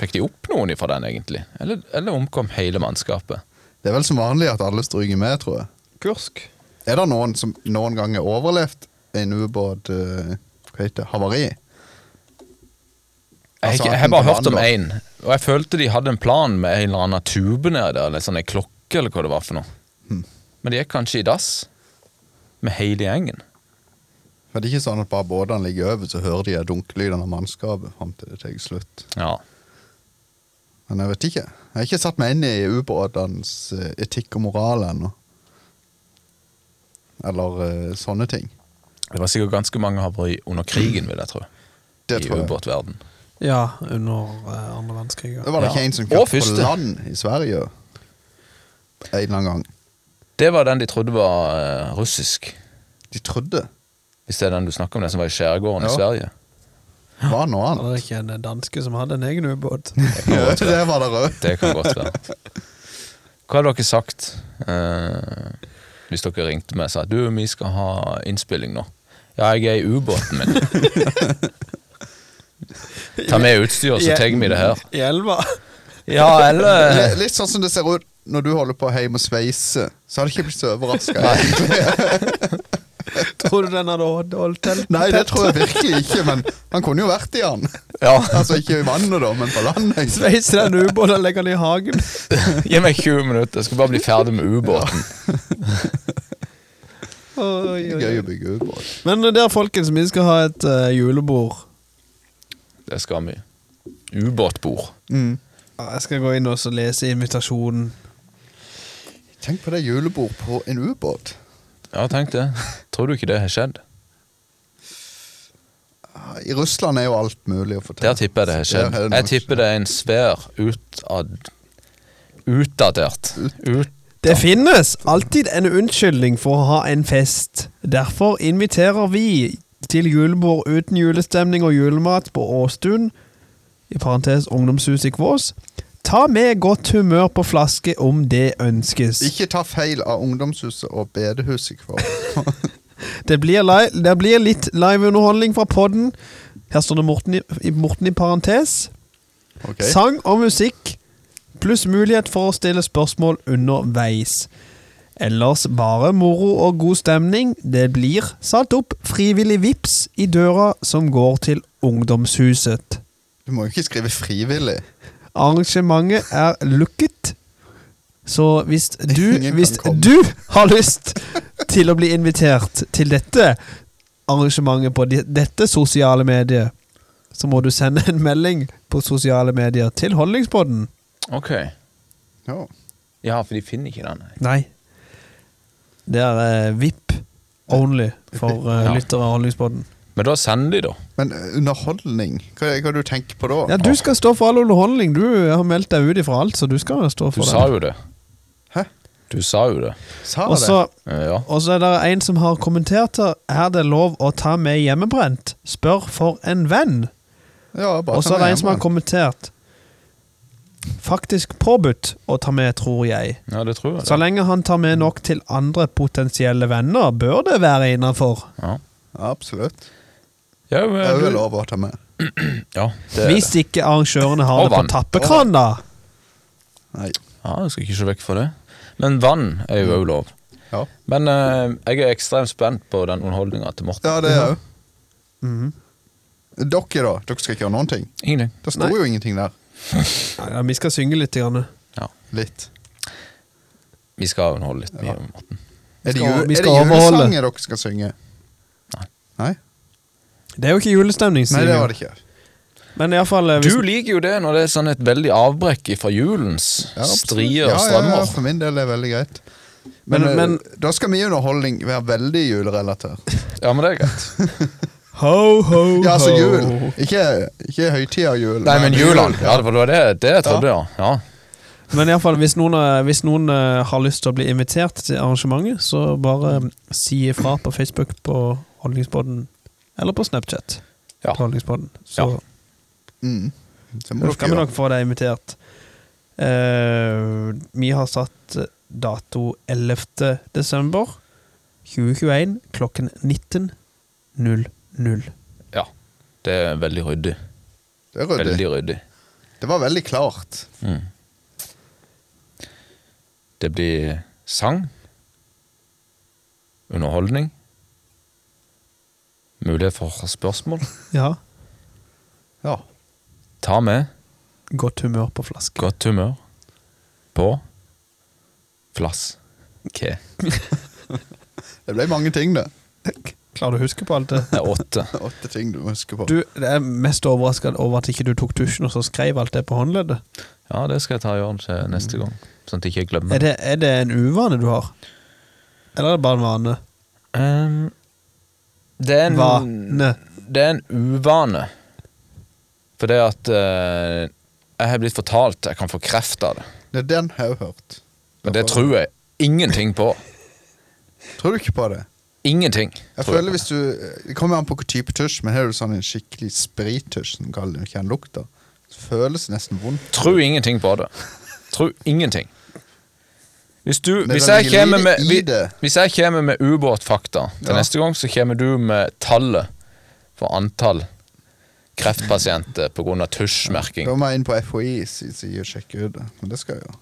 S3: Fikk de opp noen ifra den, egentlig? Eller, eller omkom hele mannskapet?
S2: Det er vel som vanlig at alle stryker med, tror jeg.
S1: Kursk.
S2: Er det noen som noen gang har overlevd en ubåt eh, Hva heter det? Havari?
S3: Jeg, har
S2: Altså,
S3: ikke- jeg har bare hørt om én, og jeg følte de hadde en plan med en eller annen tube nedi der, eller sånn en klokke, eller hva det
S2: Hmm.
S3: var for noe. Men de gikk kanskje i dass med hele gjengen.
S2: For det er ikke sånn at bare båtene ligger over, så hører de de dunkelydene av mannskapet fram til det tar slutt.
S3: Ja.
S2: Men jeg vet ikke. Jeg har ikke satt meg inn i ubåtenes eh, etikk og moral ennå. Eller eh, sånne ting.
S3: Det var sikkert ganske mange havari under krigen, vil jeg tro.
S2: Det
S3: I
S2: tror jeg.
S3: ubåtverden.
S1: Ja, under eh, andre verdenskrig. ja.
S2: Det var det
S3: Ja.
S2: ikke en som
S3: Og
S2: kjørte på
S3: første.
S2: land i Sverige en eller annen gang.
S3: Det var den de trodde var eh, russisk.
S2: De trodde
S3: Hvis det er den du snakker om, den som var i skjærgården
S2: Ja.
S3: i Sverige.
S2: det var noe
S1: Var
S2: annet.
S1: det ikke en eh, danske som hadde en egen ubåt?
S2: Ja, det var det rød.
S3: Det kan godt være. Hva hadde dere sagt eh, hvis dere ringte meg og sa du, vi skal ha innspilling nå? Ja, jeg er i ubåten min. Ta med utstyret, så tar vi det her.
S1: I elva?
S3: Ja, eller
S2: Litt sånn som det ser ut når du holder på hjemme og sveiser. Så hadde jeg ikke blitt så overraska.
S1: Tror du den hadde holdt- holdt til?
S2: Nei, det tror jeg virkelig ikke, men han kunne jo vært i han.
S3: Ja,
S2: Altså ikke i vannet, da, men på landet.
S1: Sveiser den ubåten og legger den i hagen?
S3: gi meg 20 minutter, jeg skal bare bli ferdig med ubåten.
S1: Oi,
S2: Det
S1: oi,
S2: er Gøy
S1: oi.
S2: å bygge ubåt.
S1: Men eh, der, folkens, vi skal ha et eh, julebord.
S3: Det skal vi. Ubåtbord.
S2: Mm.
S1: Ja, Jeg skal gå inn og så lese invitasjonen.
S2: Tenk på det julebord på en ubåt.
S3: Ja, tenk det. Tror du ikke det har skjedd?
S2: I Russland er jo alt mulig å få til.
S3: Der tipper jeg det har skjedd.
S2: Der er det
S3: Jeg
S2: nok-
S3: tipper det er en svær utad... Utdatert. Ut...
S1: Det finnes alltid en unnskyldning for å ha en fest. Derfor inviterer vi til julebord uten julestemning og julemat på Åstun, i parentes ungdomshus i Kvås. Ta med godt humør på flaske om det ønskes.
S2: Ikke ta feil av ungdomshuset og bedehuset i Kvål.
S1: Det blir, li det blir litt liveunderholdning fra podden. Her står det Morten i, i- Morten i parentes.
S2: Ok.
S1: Sang og musikk, pluss mulighet for å stille spørsmål underveis. Ellers bare moro og god stemning. Det blir satt opp frivillig vips i døra som går til ungdomshuset.
S2: Du må jo ikke skrive frivillig.
S1: Arrangementet er lukket. Så hvis du,
S2: Ingen kan
S1: hvis
S2: komme.
S1: du har lyst til å bli invitert til dette arrangementet på de- dette sosiale mediet, så må du sende en melding på sosiale medier til Holdningspodden.
S3: Ok.
S2: Ja.
S3: Ja, for de finner ikke den.
S1: Nei. Det er eh, VIP only for eh,
S3: Ja.
S1: lyttere av Holdningspodden.
S3: Men da sender de, da.
S2: Men eh, underholdning, hva, hva du tenker på da?
S1: Ja, du skal stå for all underholdning. Du har meldt deg ut ifra alt, så du skal stå
S3: Du
S1: for
S3: sa
S1: det.
S3: jo det.
S2: Hæ?
S3: Du sa jo det.
S2: Sa
S1: Og så
S3: Eh, Ja.
S1: Og så er det en som har kommentert her Er det lov å ta med hjemmebrent? Spør for en venn.
S2: det? Ja, bare
S1: Og så
S2: ta
S1: er det
S2: med
S1: en som har
S2: hjemme.
S1: kommentert Faktisk påbudt å ta med, tror jeg.
S3: ja, det tror jeg.
S1: Så
S3: Det.
S1: lenge han tar med nok til andre potensielle venner, bør det være innafor.
S3: Ja.
S2: Absolutt.
S3: Ja,
S2: Det er
S3: men,
S2: jo
S3: du,
S2: lov å ta med.
S3: ja, det er det.
S1: Hvis ikke arrangørene har
S3: Og
S1: det på
S3: vann.
S1: tappekran, da.
S2: Nei.
S3: ja, du skal ikke se vekk fra det. Men vann er jo òg lov.
S2: Ja,
S3: Men eh, jeg er ekstremt spent på den underholdninga til Morten.
S2: ja det er jo
S1: Mhm.
S2: Dere, da? Dere skal ikke gjøre noen ting?
S3: Ingenting.
S2: Det står jo ingenting der.
S1: Nei, Ja, vi skal synge litt. Grann.
S3: Ja.
S2: Litt.
S3: Vi skal underholde litt mye, Morten.
S2: Er det,
S1: skal-
S2: ju-
S1: vi
S2: er det
S1: skal overholde.
S2: julesanger dere skal synge?
S3: Nei.
S2: Nei,
S1: Det er jo ikke julestemning,
S2: Nei
S1: sier
S2: det
S1: vi.
S2: var det ikke.
S1: Men iallfall
S3: Du liker jo det når det er sånn et veldig avbrekk fra julens
S2: Ja, absolutt.
S3: strier
S2: Ja,
S3: og
S2: Ja, ja,
S3: strømmer.
S2: for min del er det veldig greit. Men,
S1: Men-
S2: eh,
S1: men-
S2: da skal mye underholdning være veldig julerelatert.
S3: Ja, men det er greit.
S1: Ho, ho, ho.
S2: Ja, altså jul. Ikke, ikke høytida jul.
S3: Nei, men julene. Ja, det var det, det jeg trodde, ja. ja.
S1: Men i alle fall, hvis noen, eh, hvis noen eh, har lyst til å bli invitert til arrangementet, så bare eh, si ifra på Facebook på Holdningspodden, eller på Snapchat.
S3: Ja.
S1: På Holdningspodden. Så
S3: Ja.
S2: Mm. Så må
S1: da
S2: dere
S1: skal vi
S2: gjøre.
S1: nok få deg invitert. Eh, vi har satt dato 11. desember 2021 klokken 19.00.
S3: ja. Det er veldig ryddig.
S2: Det er ryddig.
S3: Veldig ryddig.
S2: Det var veldig klart.
S3: Mm. Det blir sang, underholdning, mulighet for spørsmål.
S1: Ja.
S2: Ja.
S3: Ta med
S1: Godt humør på flaske.
S3: godt humør på flass. Ke.
S2: Det ble mange ting, det.
S1: Klarer du å huske på alt det?
S3: Det er åtte.
S2: Åtte ting du må huske på.
S1: Du, jeg er mest overraska over at ikke du tok tusjen og så skrev alt det på håndleddet.
S3: Ja, det skal jeg ta og gjøre til neste gang, sånn at jeg ikke
S1: Er
S3: glemmer.
S1: det, er det en uvane du har? Eller er det bare en vane?
S3: Ehm, det er en
S1: Vane.
S3: Det er en uvane. For det at eh, jeg har blitt fortalt jeg kan få kreft av det.
S2: Det er den har jeg hørt.
S3: Men det tror jeg ingenting på.
S2: Tror du ikke på det?
S3: Ingenting.
S2: Jeg
S3: tror
S2: føler
S3: på.
S2: hvis du Det kommer an på hvilken type tusj, men har du sånn en skikkelig sprittusj som kaller det kjenner lukta, så føles det nesten vondt.
S3: Tro ingenting på det. Tro ingenting. Hvis, du,
S2: Men
S3: hvis,
S2: det
S3: jeg
S2: ligger
S3: kommer
S2: lite
S3: med,
S2: i
S3: vi-
S2: det.
S3: hvis jeg kommer med ubåtfakta til
S2: Ja.
S3: neste gang, så kommer du med tallet for antall kreftpasienter pga. tusjmerking.
S2: Da må jeg inn på FHI sin side og sjekke ut det. Men det skal jeg gjøre.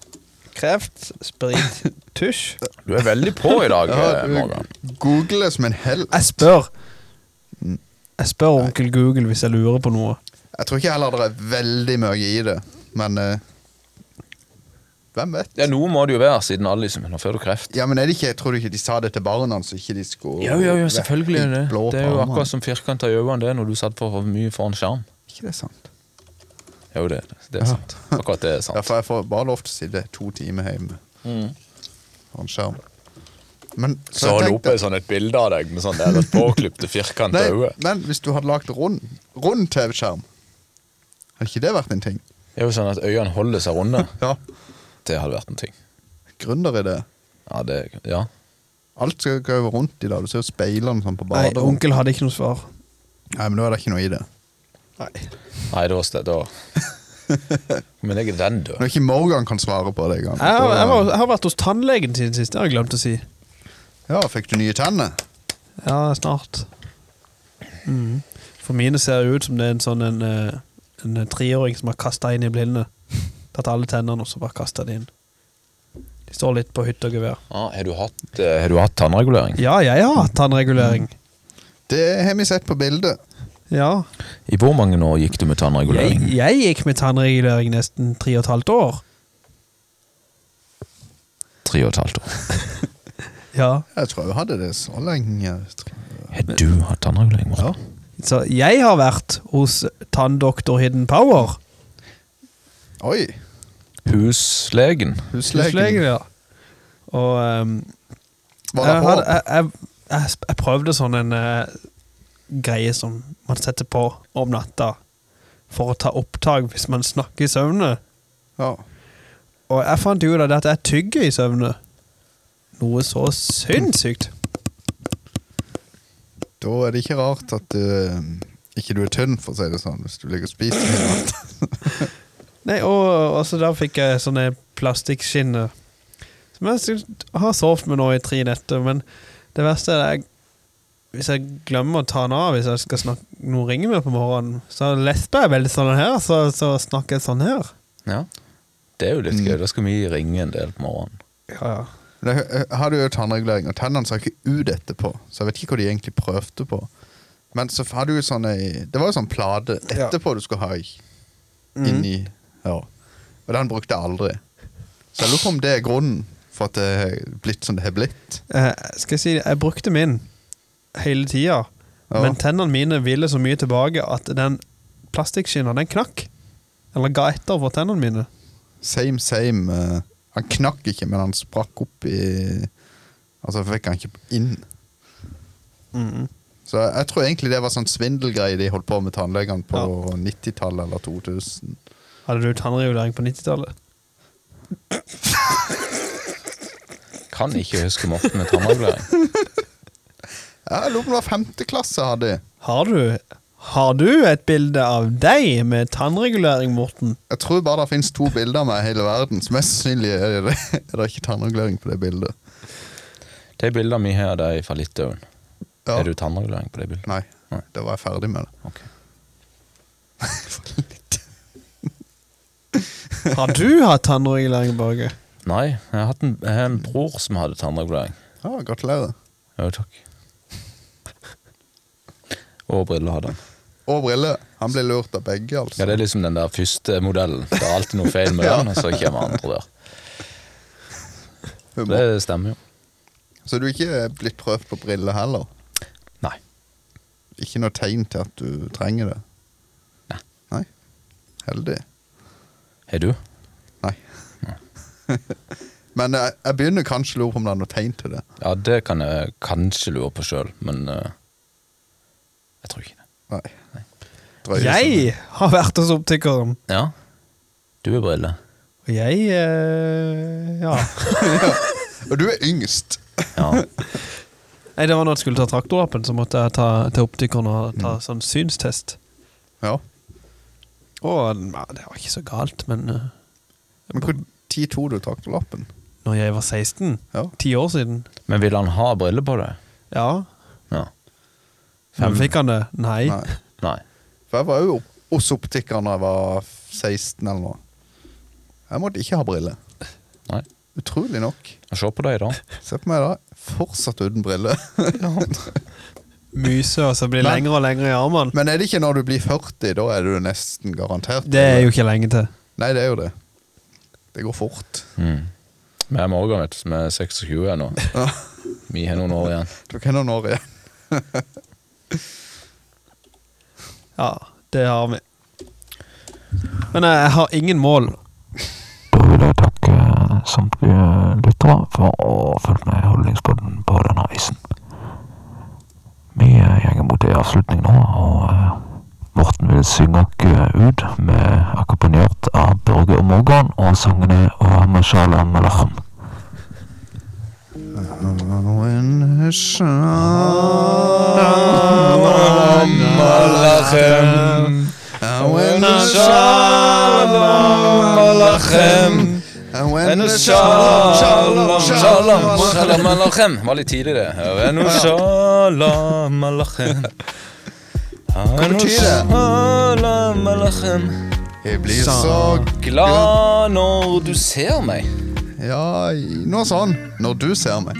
S1: Kreft, sprit, tusj.
S3: Du er veldig på i dag, eh,
S2: Ja, du
S3: Morgan.
S2: Google det som en hell.
S1: Jeg spør. Jeg spør onkel Google hvis jeg lurer på noe.
S2: Jeg tror ikke heller det er veldig mye i det, men eh, Hvem vet?
S3: Ja, noe må det jo være, siden alle liksom Nå får du kreft.
S2: Ja, men er det ikke, jeg tror ikke de sa det til barna, så ikke de skulle
S3: Ja, ja, ja, selvfølgelig er det
S2: være helt blå
S3: det. Det er
S2: på
S3: jo
S2: armene.
S3: akkurat som firkanta øyne det er når du satt for for mye foran skjerm.
S2: Ikke det er sant?
S3: Jo, det, det er sant. Akkurat det er
S2: Ja,
S3: sant.
S2: for jeg får bare lov til å sitte to timer hjemme foran skjerm. Men så
S3: Mm. Så
S2: jeg
S3: holder
S2: tenkte-
S3: opp et sånn et bilde av deg med sånn der et påklipte firkanta
S2: Nei,
S3: øye.
S2: men hvis du hadde lagd rund, rund TV-skjerm, hadde ikke det vært en ting?
S3: Det er jo sånn at øynene holder seg runde.
S2: Ja.
S3: Det hadde vært en ting.
S2: Gründeridé.
S3: Ja, det Ja.
S2: Alt skal gå rundt i dag. Du ser jo speilene sånn på
S1: Nei,
S2: badet. Nei,
S1: onkel hadde ikke noe svar.
S2: men da er det ikke noe i det.
S1: Nei.
S3: Nei, da sted, da Men jeg er den, du.
S2: Når ikke Morgan kan svare på det engang.
S1: Jeg, har- jeg, var, jeg har vært hos tannlegen siden sist, det har jeg glemt å si.
S2: Ja, fikk du nye tenner?
S1: Ja, snart. Mhm. For mine ser jo ut som det er en sånn en, eh, en treåring som har kasta inn i blinde. Tatt alle tennene og så bare kasta de inn. De står litt på hytte og gevær.
S3: Ja, har du hatt, eh, har du hatt tannregulering?
S1: Ja, jeg har hatt tannregulering.
S2: Det har vi sett på bildet.
S1: Ja.
S3: I hvor mange år gikk du med
S1: Jeg,
S3: tannregulering?
S1: jeg gikk med tannregulering nesten tre og et halvt år.
S3: Tre og et halvt år.
S1: Ja.
S2: Jeg tror jeg hadde det så lenge. tror jeg.
S3: Har du hatt tannregulering, Morten?
S1: Så jeg har vært hos tanndoktor Hidden Power.
S2: Oi!
S3: Huslegen?
S2: Huslegen.
S1: ja. Og ehm,
S2: Var det
S1: jeg,
S2: hår?
S1: hadde, jeg, jeg, jeg, sp- jeg prøvde sånn en eh, greie som man setter på om natta for å ta opptak hvis man snakker i søvne.
S2: Ja.
S1: Og jeg fant jo ut av det at jeg tygger i søvne. Noe så sinnssykt.
S2: Da er det ikke rart at eh, ikke du er tynn, for å si det sånn, hvis du ligger og spiser. hele natten.
S1: Nei, og, og så der fikk jeg sånne plastikkskinner. Som jeg sy- har sovet med nå i tre netter, men det verste er at jeg, hvis jeg glemmer å ta den av hvis jeg skal snakke noen ringer med på morgenen, så lesper jeg veldig sånn her, så, så snakker jeg sånn her.
S3: Ja. Det er jo litt gøy. Da skal vi ringe en del på morgenen.
S1: Ja, ja.
S2: Men jeg, jeg hadde jo tannregulering, og tennene så ikke ut etterpå. Så jeg vet ikke hva de egentlig prøvde på. Men så hadde du jo sånn ei Det var jo sånn plate etterpå du skulle ha i,
S3: Mm.
S2: inni ja. Og den brukte jeg aldri. Så jeg lurer på om det er grunnen for at det har blitt som det har blitt.
S1: Eh, skal jeg si, jeg brukte min hele tida,
S2: Ja.
S1: men tennene mine ville så mye tilbake at den plastikkskinna, den knakk. Eller ga etter for tennene mine.
S2: Same, same. eh, han knakk ikke, men han sprakk opp i Altså fikk han ikke inn.
S3: Mm-hmm.
S2: Så jeg, jeg tror egentlig det var sånn svindelgreie de holdt på med tannlegene på 90-tallet eller 2000.
S1: Hadde du tannregulering på 90-tallet?
S3: Kan ikke huske Morten med tannregulering.
S2: Jeg lurer på om det var femte klasse jeg hadde.
S1: Har du, har du et bilde av deg med tannregulering, Morten?
S2: Jeg tror bare det finnes to bilder av meg i hele verden. Så mest sannsynlig er det, er det ikke tannregulering på det bildet.
S3: De bildene vi har av deg fra Litauen,
S2: Ja.
S3: er du tannregulering på de bildene?
S2: Nei,
S3: Nei.
S2: da var jeg ferdig med det.
S3: Ok.
S1: Har du hatt tannregulering, Børge?
S3: Nei, jeg har hatt en, jeg har en bror som hadde tannregulering.
S2: Ja, Gratulerer.
S3: Jo, takk. Og briller hadde han.
S2: Og briller. Han ble lurt av begge, altså.
S3: Ja, Det er liksom den der første modellen. Det er alltid noe feil med
S2: Ja.
S3: den, og så kommer andre der.
S2: Humor.
S3: Det stemmer jo.
S2: Så du er ikke blitt prøvd på briller heller?
S3: Nei.
S2: ikke noe tegn til at du trenger det.
S3: Nei.
S2: Nei. Heldig.
S3: Har du?
S2: Nei. Men jeg, jeg begynner kanskje å lure på om det er noe tegn til det.
S3: Ja, det kan jeg kanskje lure på sjøl, men eh, jeg tror ikke det.
S2: Nei. Drøye
S1: Jeg har vært hos optikeren,
S3: Ja. Du er brille.
S1: og jeg eh, Ja.
S2: som- Og du er yngst.
S3: Ja.
S1: Nei, det var når jeg skulle ta traktorlappen, så måtte jeg ta til optikeren og ta sånn synstest.
S2: Ja.
S1: Og ja, det var ikke så galt, men eh,
S2: Men hvor tid tok du traktorlappen?
S1: når jeg var 16,
S2: Ja.
S1: ti år siden
S3: Men vil han ha briller på deg?
S1: Ja.
S3: Ja.
S1: Men fikk han det? Nei.
S2: Nei.
S3: Nei.
S2: For jeg var jo hos optikeren da jeg var 16 eller noe. Jeg måtte ikke ha briller.
S3: Nei.
S2: Utrolig nok.
S3: Se på deg, da.
S2: Se på meg da. Fortsatt uten briller.
S1: Myse og så blir
S2: Men-
S1: lengre og lengre i armene.
S2: Men er det ikke når du blir 40? Da er du nesten garantert.
S1: Det er jo ikke lenge til.
S2: Nei, det er jo det. Det går fort.
S3: Mm. Vi er Morgan, vet du, som er 26 her nå. Vi har noen år igjen.
S2: Du kan ha noen år igjen.
S1: Ja, det har vi. Men eh, jeg har ingen mål.
S5: vil jeg takke eh, samtlige lyttere for å følge med i Holdningspodden på denne reisen. Vi eh, går mot en avslutning nå, og eh, Morten vil synge oss ut med akkompagnert av Børge og Morgan og sangene «Å Mashallah Malachim.
S3: Shalom, shalom, shalom alachem. Var litt tidlig, det. Enu shalom alachem. Hva
S2: betyr det?
S3: Shalom alachem.
S2: Jeg blir så
S3: Glad når du ser meg.
S2: Ja, i- noe sånn. Når du ser meg.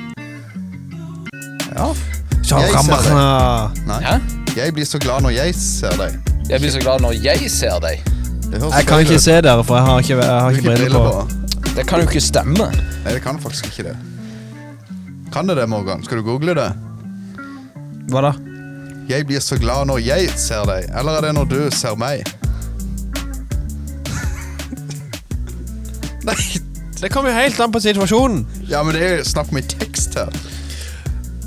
S2: Ja. Jeg ser det.
S1: Shalom.
S2: Nei.
S3: Hæ?
S2: Jeg blir så glad når jeg ser deg.
S3: Jeg blir så glad når jeg ser deg.
S2: Det høres
S1: Jeg kan
S2: feil
S1: ikke
S2: ut.
S1: se dere, for jeg har ikke, jeg har
S2: Du
S1: ikke briller på.
S3: Det kan jo ikke stemme.
S2: Nei, det kan faktisk ikke det. Kan det det, Morgan? Skal du google det?
S1: Hva da?
S2: Jeg blir så glad når jeg ser deg. Eller er det når du ser meg? Nei,
S1: Det kommer jo helt an på situasjonen.
S2: ja, men det er jo snakk om i tekst her.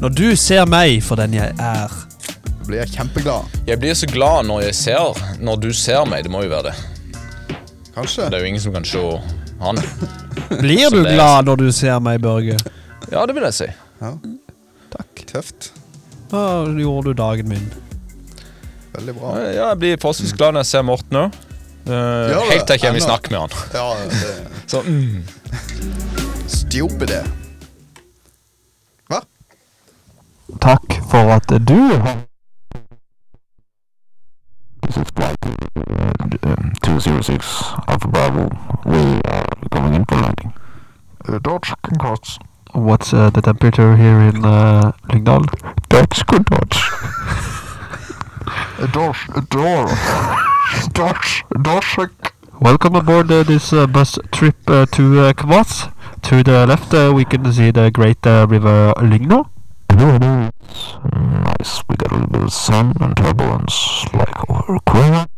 S1: Når du ser meg for den jeg er
S2: Da blir jeg kjempeglad.
S3: Jeg blir så glad når jeg ser Når du ser meg, det må jo være det.
S2: Kanskje.
S3: Det er jo ingen som kan se han.
S1: Blir
S3: Så
S1: du
S3: det-
S1: glad når du ser meg, Børge?
S3: Ja, det vil jeg si.
S2: Ja,
S1: Takk.
S2: tøft.
S1: Da gjorde du dagen min.
S2: Veldig bra.
S3: Ja, jeg blir forholdsvis glad når jeg ser Morten òg.
S2: Ja, vel,
S3: Eh, helt til jeg kommer i
S2: ennå.
S3: snakk med han.
S2: Ja, det
S3: Så, mm.
S2: Stupid det. Hva?
S5: Takk for at du har Two zero six Alpha Bravo. We are going in for landing. Eh, Dodge congrats. What's uh, the temperature here in uh, Lyngdal? Dodge congrats. Eh, Dodge, Dodge, Dodge, Dodge. Welcome aboard uh, this uh, bus trip uh, to uh, Kvass. To the left, uh, we can see the great uh, river Lygna. Nice, we got a little bit of sun and turbulence like over Korea.